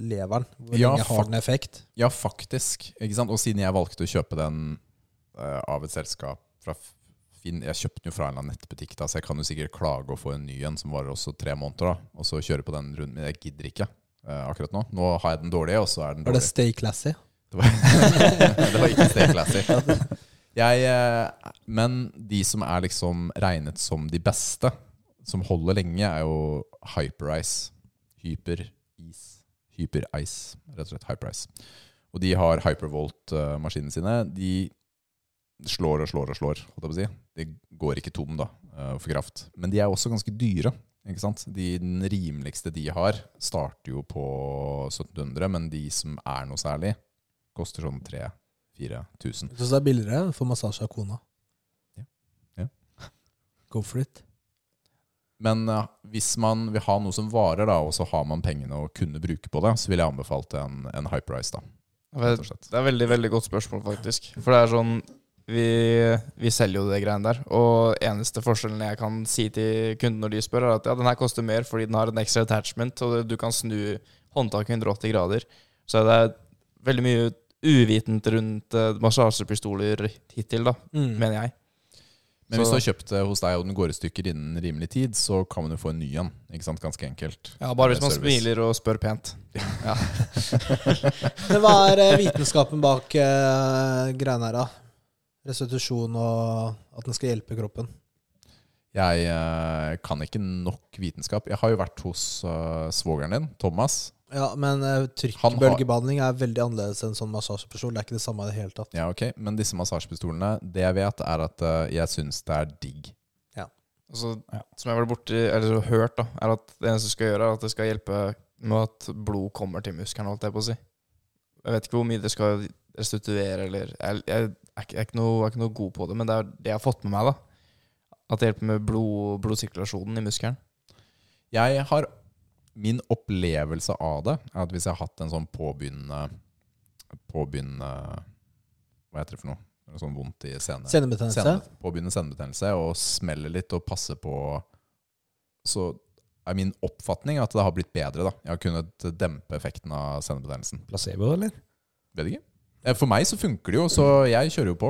lever den. Hvor Ja, lenge har fuck. den effekt. Ja, faktisk. Ikke sant? Og siden jeg valgte å kjøpe den eh, av et selskap fra F- Finn Jeg kjøpte den jo fra en eller annen nettbutikk, da, så jeg kan jo sikkert klage og få en ny en som varer også tre måneder, da, og så kjøre på den runden. Men jeg gidder ikke eh, akkurat nå. Nå har jeg den dårlige, og så er den Var det dårlig. stay classy? Det var, det var ikke Stay Classy. Jeg, eh, men de som er liksom regnet som de beste, som holder lenge, er jo Hyperice. Hyperis. Hyperice, rett og slett. Hyperice. Og de har Hypervolt-maskinene sine. De slår og slår og slår, holdt jeg på å si. De går ikke tom da, eh, for kraft. Men de er også ganske dyre. Ikke sant? De, den rimeligste de har, starter jo på 1700, men de som er noe særlig, koster sånn 3000-4000. Du syns det er billigere? Får massasje av kona. Ja. Ja. Go for it. Men eh, hvis man vil ha noe som varer, da, og så har man pengene og kunne bruke på det, så ville jeg anbefalt en, en Hyperice. da, rett Vet- og slett. Det er veldig, veldig godt spørsmål, faktisk. For det er sånn vi, vi selger jo det greiene der. Og eneste forskjellen jeg kan si til kunden når de spør, er at ja, den her koster mer fordi den har en ekstra attachment, og du kan snu håndtaket 180 grader. Så det er veldig mye uvitent rundt eh, massasjepistoler hittil, da, Mm. mener jeg. Men hvis Så- du har kjøpt det hos deg, og den går i stykker innen rimelig tid, så kan man jo få en ny en. ikke sant, Ganske enkelt. Ja, bare hvis man Service. smiler og spør pent. Men hva er eh, vitenskapen bak eh, greiene her, da? Restitusjon og at den skal hjelpe kroppen. Jeg eh, kan ikke nok vitenskap. Jeg har jo vært hos eh, svogeren din, Thomas. Ja, men eh, trykkbølgebehandling er veldig annerledes enn sånn massasjepistol. Det er ikke det samme i det hele tatt. Ja, ok. Men disse massasjepistolene, det jeg vet, er at eh, jeg syns det er digg. Og så, Som jeg har vært borti, eller så hørt, da, er at det eneste du skal gjøre, er at det skal hjelpe med at blod kommer til muskelen, holdt jeg på å si. Jeg vet ikke hvor mye det skal restituere, eller Jeg, jeg, er, ikke, jeg, er, ikke noe, jeg er ikke noe god på det, men det er det jeg har fått med meg, da. At det hjelper med blod, blodsirkulasjonen i muskelen. Jeg har Min opplevelse av det er at hvis jeg har hatt en sånn påbegynnende Påbegynnende Hva heter det for noe? Noe sånn vondt i sene, Senebetennelse. sene- Påbegynnende senebetennelse og smeller litt og passer på Så er min oppfatning at det har blitt bedre. da Jeg har kunnet dempe effekten av senebetennelsen. Placebo, eller? Vet ikke. Eh, For meg så funker det jo, så jeg kjører jo på.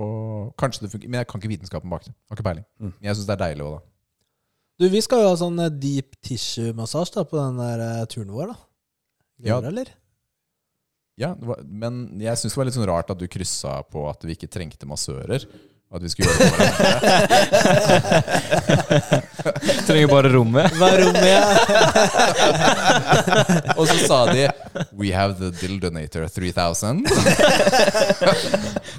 Og kanskje det funker, Men jeg kan ikke vitenskapen bak det. Har ikke peiling. Mm. Men jeg syns det er deilig òg, da. Du, vi skal jo ha sånn eh, deep tissue-massasje da, på den der eh, turen vår, da. Ja. Gleder du deg, eller? Ja, det var, men jeg syns det var litt sånn rart at du kryssa på at vi ikke trengte massører. og At vi skulle gjøre det for hverandre. Trenger bare rommet. Hva er rommet? ja? Og så sa de We have the Dill Donator 3000. My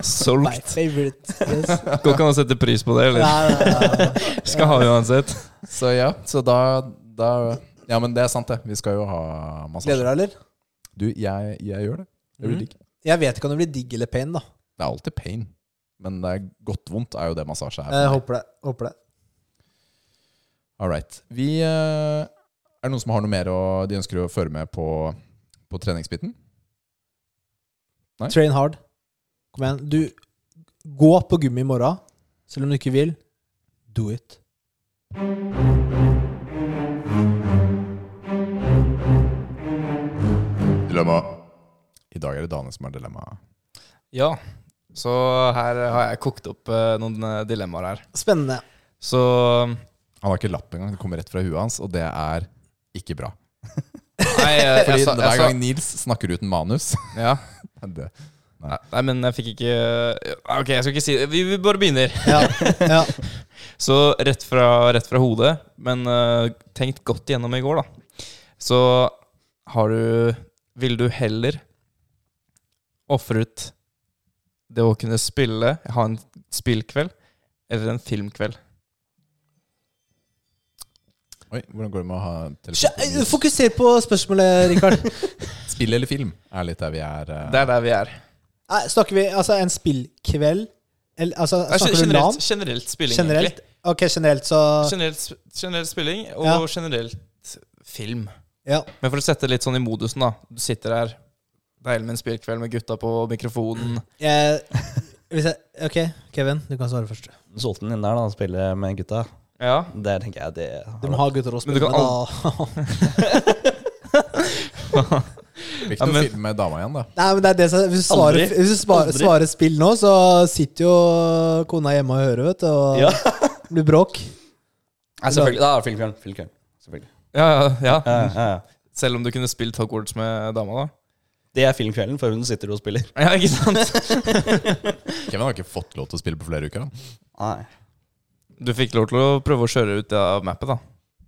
Solgt. favorite. Yes. Går ikke an å sette pris på det, Nei, eller? nei, nei, nei. Skal ha uansett. Så ja, så da, da Ja, men det er sant, det. Vi skal jo ha Gleder du massasje. deg, eller? Du, jeg, jeg gjør det. Det blir Mhm. digg. Jeg vet ikke om det blir digg eller pain, da. Det er alltid pain. Men det er godt vondt er jo det massasje er. for Jeg meg. håper det. Håper det. All right. Vi, eh, er det noen som har noe mer å, de ønsker å føre med på, på treningsbiten? Nei. Train hard. Kom igjen. Du, gå på gummi i morgen. Selv om du ikke vil, do it. Dilemma. I dag er det Dane som er dilemma. Ja. Så her har jeg kokt opp eh, noen eh, dilemmaer her. Spennende. Så Han har ikke lapp engang. Det kommer rett fra huet hans, og det er ikke bra. Nei, jeg, Eh, jeg, Fordi sa- jeg, hver sa- gang Nils snakker uten manus Ja. det. Nei, Nei, men jeg fikk ikke Nei, Ok, jeg skal ikke si det. Vi, vi bare begynner. Ja. ja. Så rett fra, rett fra hodet, men eh, tenkt godt igjennom i går, da. Så har du Vil du heller ofret det å kunne spille, ha en spillkveld, eller en filmkveld? Oi, hvordan går det med å ha Skjø- eh, telefon? på Nils? Fokuser på spørsmålet, Rikard. Spill eller film er litt der vi er. eh. Det er der vi er. Nei, Snakker vi altså en spillkveld? Eller, altså, Nei, snakker du LAN? generelt, generelt spilling, Generelt? Ok, generelt, så egentlig. Generelt, sp- generelt spilling og Ja. generelt film. Ja. Men for å sette litt sånn i modusen, da. Du sitter der, deilig med en spillkveld med gutta på mikrofonen. Jeg, hvis jeg, ok, Kevin, du kan svare først. Du solgte den inn der, da. Spille med gutta. Ja. Det tenker jeg det har Du må ha gutter å Men du spille kan med, da. Viktig Ja, men- å filme dama igjen, da. Nei, men det er det som Hvis du svarer, Aldri. hvis du svarer, Aldri. svarer spill nå, så sitter jo kona hjemme og hører, vet du, og Ja. det blir bråk. Nei, selvfølgelig. Da er det filmkveld. Filmkveld. Selvfølgelig. Ja, ja, Ja, ja. ja, ja. Selv om du kunne spilt Hogwarts med dama, da. Det er filmkvelden, for hun sitter og spiller. Ja, ikke sant? Kevin har ikke fått lov til å spille på flere uker. da. Nei. Du fikk lov til å prøve å kjøre ut det av mappet, da.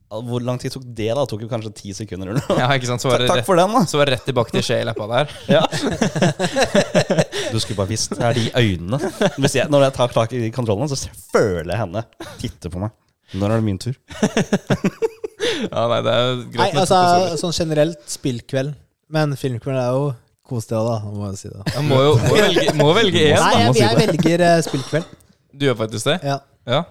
Hvor lang tid tok det, da? Det tok jo kanskje ti sekunder eller noe. Ja, ikke sant? Så var det Takk rett, for den, da. så var det rett tilbake til skje i leppa der. Ja. Du skulle bare visst. Det er de øynene. Hvis jeg, når jeg tar tak i kontrollen, så føler jeg henne titte på meg. Når er det min tur? Ja, nei, det er greit Nei, med altså, to personer. sånn generelt spillkveld. Men filmkveld er jo koselig, da. Må jeg si det. Jeg må jo må velge, må velge én, Nei, da. jeg, må si jeg det. velger eh, spillkveld. Du gjør faktisk det? Ja. Ja.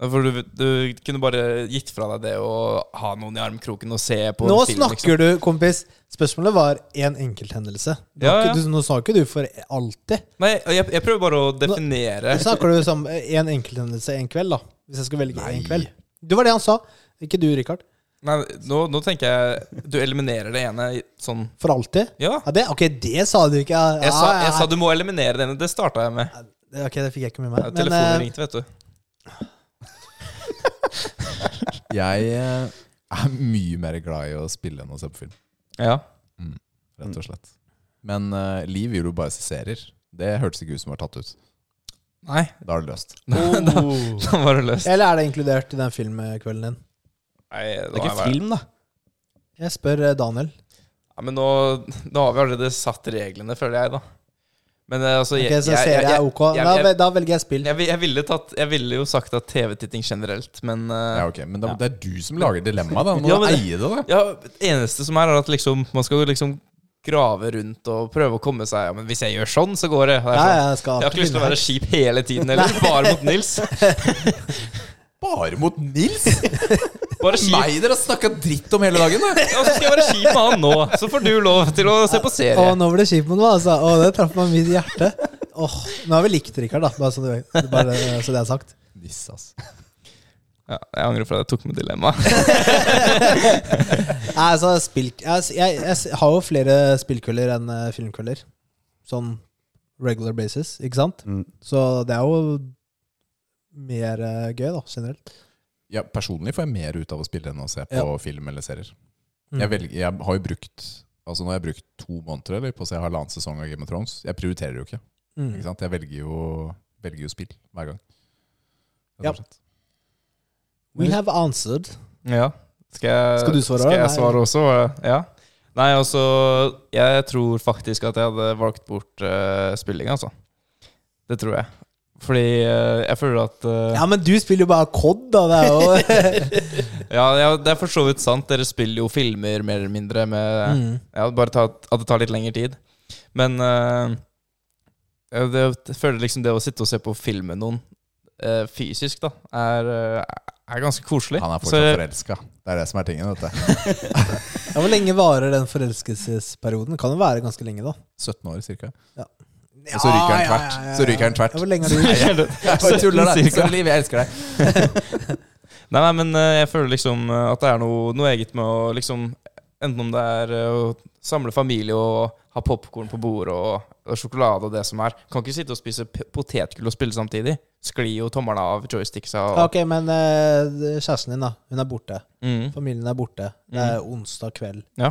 Ja, For du, du kunne bare gitt fra deg det å ha noen i armkroken og se på Nå en film, liksom. snakker du, kompis. Spørsmålet var én enkelthendelse. Det var Ja, ikke- ja. Du, nå sa ikke du for alltid. Nei, jeg, jeg prøver bare å definere. Nå snakker du som én enkelthendelse en kveld, da. Hvis jeg skulle velge én kveld. Det var det han sa. Ikke du, Richard. Nei, nå, nå tenker jeg Du eliminerer det ene i- sånn For alltid. Ja. Ja, det, ok, det sa du ikke. Ja, Jeg sa, ja, jeg ja. sa du må eliminere det ene. Det starta jeg med. Det- Ok, det fikk jeg ikke med meg. Ja, Men, Telefonen eh, ringte, vet du. Jeg eh, er mye mer glad i å spille enn å se på film, Ja. rett og slett. Men eh, Liv vil jo bare se serier. Det hørtes ikke ut som var tatt ut. Nei, Da er det løst. Oh. da var det løst. eller er det inkludert i den filmkvelden din? Nei, Det er nå er jeg ikke bare- film, da. Jeg spør eh, Daniel. Ja, men nå, nå har vi allerede satt reglene, føler jeg, da. Men eh, altså Ok, så ser jeg OK. jeg- Da jeg- vel- Da velger jeg spill. Jeg, vil- jeg, ville tatt, jeg ville jo sagt at TV-titting generelt, men Ja, eh, ok, Men da, det er du som lager dilemmaet, da. Nå må Ja, du men- eie det, da. ja, eneste som er, er at liksom, man skal jo liksom grave rundt og prøve å komme seg Ja, men hvis jeg gjør sånn, så går det. det er Ja, sånn. jeg skal Jeg har ikke lyst til å være skip hele tiden, eller Nei. bare mot Nils. Bare mot Nils! Bare skip. Meg dere har snakka dritt om hele dagen, da! Ja, så skal jeg være skip med han nå. Så får du lov til å se på Å, serie. nå ble det kjipt med noe, altså. Å, det traff meg midt i hjertet. Åh, Nå har vi likt Rikard, da. Bare så, du, vet. bare, eh, så det er sagt. Niss, ass. Ja, jeg angrer på at jeg tok med dilemma. Nei, altså, spill, jeg, jeg, jeg s- har jo flere spillkvelder enn eh, filmkvelder. Sånn regular basis, ikke sant? Mm. Så det er jo mer eh, gøy, da, generelt. Ja, personlig får jeg mer ut av å spille enn å se på Ja. film eller serier. Mm. Jeg, velger, jeg har jo brukt Altså Nå har jeg brukt to måneder eller, på å se halvannen sesong av Game of Thrones. Jeg prioriterer jo ikke. Mm. ikke sant? Jeg velger jo, velger jo spill hver gang. Rett og Ja. slett. We have answered. Ja. Skal jeg, Skal du svare, Skal jeg eller? svare også? Ja. Nei, altså Jeg tror faktisk at jeg hadde valgt bort eh, spilling, altså. Det tror jeg. Fordi eh, jeg føler at eh, Ja, men du spiller jo bare COD, da. Det er jo ja, ja, det er for så vidt sant. Dere spiller jo filmer mer eller mindre med mm. ja, Bare ta, at det tar litt lengre tid. Men eh, ja, det, jeg føler liksom det å sitte og se på film med noen eh, fysisk, da, er, eh, er ganske koselig. Han er Så jeg- fortsatt forelska. Det er det som er tingen. vet du. ja, Hvor lenge varer den forelskelsesperioden? Kan jo være ganske lenge, da. 17 år cirka. Ja, så ryker den tvert. Så ryker den tvert. Ja, hvor lenge har du gjort det? Jeg bare tuller, da. Så Liv, jeg elsker deg. Nei, nei, men eh, jeg føler liksom eh, at det er noe, noe eget med å liksom Enten om det er eh, å samle familie og ha popkorn på bordet og, og sjokolade og det som er. Kan ikke sitte og spise p- potetgull og spille samtidig. Sklir jo tommelen av joysticksa. Og, Ok, men eh, kjæresten din, da. Hun er borte. mm. Familien er borte. Det er onsdag kveld. Ja.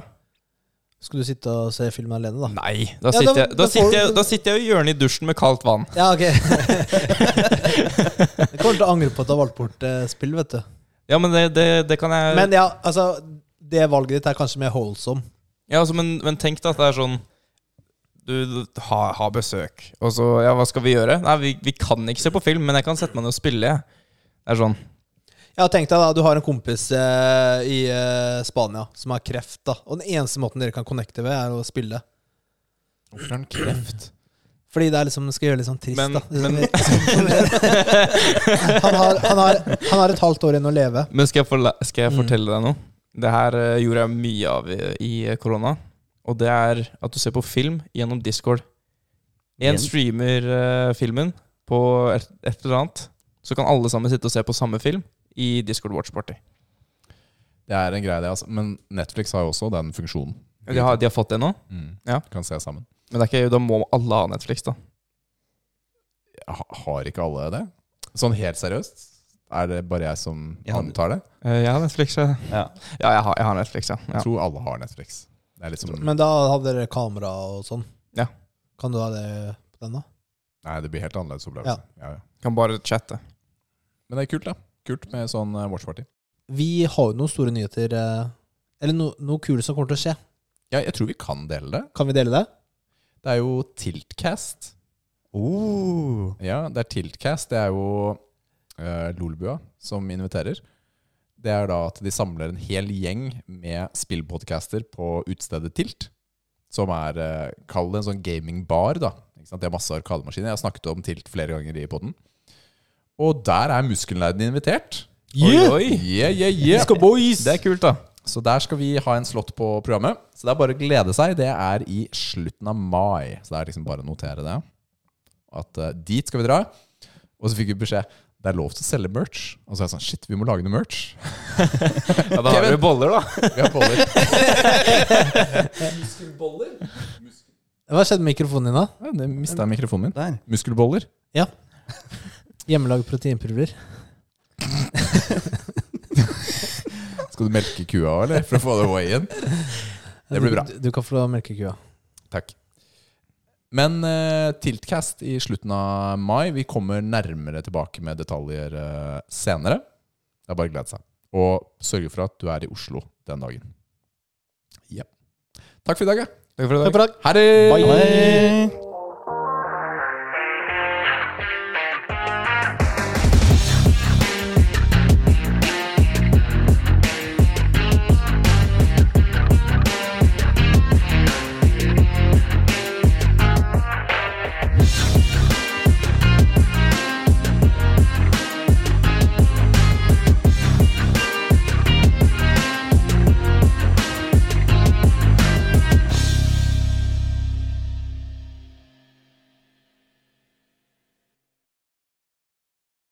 Skal du sitte og se film alene, da? Nei, da Ja, da- sitter, jeg, da, da får sitter du- jeg, da sitter jeg i hjørnet i dusjen med kaldt vann. Ja, ok. Jeg kommer til å angre på at du har valgt bort eh, spill, vet du. Ja, men det, det, det kan jeg Men ja, altså Det valget ditt er kanskje mer holdsom. Ja, altså, men, men tenk da at det er sånn du du- ha, ha besøk, og så Ja, hva skal vi gjøre? Nei, vi, vi kan ikke se på film, men jeg kan sette meg ned og spille, jeg. Det er sånn. Jeg har tenkt deg da, Du har en kompis eh, i eh, Spania som har kreft. da Og den eneste måten dere kan connecte ved, er å spille. Hvorfor har han kreft? Fordi det er liksom, det skal gjøre litt sånn trist, Men- da. Liksom, men- han, har, han, har, han har et halvt år igjen å leve. Men skal jeg, forla- skal jeg Mm. fortelle deg noe? Det her eh, gjorde jeg mye av i, i korona. Og det er at du ser på film gjennom Discord. En Igjen? streamer eh, filmen på et, et eller annet. Så kan alle sammen sitte og se på samme film i Discord Watch Party. Det er en greie, det. altså Men Netflix har jo også den funksjonen. De har, de har fått det nå, Mm. Ja. Kan se sammen. men det er ikke, da må alle ha Netflix, da. Ha, har ikke alle det? Sånn helt seriøst? Er det bare jeg som Jeg hadde- antar det? Eh, Jeg har Netflix, ja. Ja. Ja, jeg har, jeg har Netflix, ja. ja. Jeg tror alle har Netflix. Det er liksom- litt som, Men da hadde dere kamera og sånn. Ja. Kan du ha det på den, da? nei, det blir helt annerledes opplevelse. Ja, ja. Kan bare chatte. Men det er kult, da. Kult med sånn eh, watch party. Vi har jo noen store nyheter, eh, eller no, noe kult som kommer til å skje. Ja, jeg tror vi kan dele det. Kan vi dele det? Det er jo Tiltcast. Oh. Ja, det er Tiltcast. Det er jo eh, Lolbua som inviterer. Det er da at de samler en hel gjeng med spillpodcaster på utstedet Tilt. Som er, eh, kall det en sånn gamingbar, da. Ikke sant? De har masse arkademaskiner. Jeg har snakket om Tilt flere ganger i podden. Og der er muskelnerden invitert. Yeah! Oi, oi! Yeah, yeah, yeah. boys! Det er kult, da. Så der skal vi ha en slott på programmet. Så det er bare å glede seg. Det er i slutten av mai. Så det er liksom bare å notere det. At eh, dit skal vi dra. Og så fikk vi beskjed det er lov til å selge merch. Og så er jeg sånn shit, vi må lage noe merch. Ja, da har Kevin. vi boller, da. Vi har boller. Hva skjedde med mikrofonen din, da? Ja, det mista jeg mikrofonen min. Der. Muskelboller. Hjemmelag proteinpulver. Skal du melke kua òg, eller? For å få det away in? Det blir bra. Du, du kan få melke kua. Takk. Men eh, Tiltcast i slutten av mai. Vi kommer nærmere tilbake med detaljer eh, senere. Det er bare å glede seg. Og sørge for at du er i Oslo den dagen. Ja. Takk for i dag. ja. Takk for i dag. Takk for i dag. Ha det! Bye.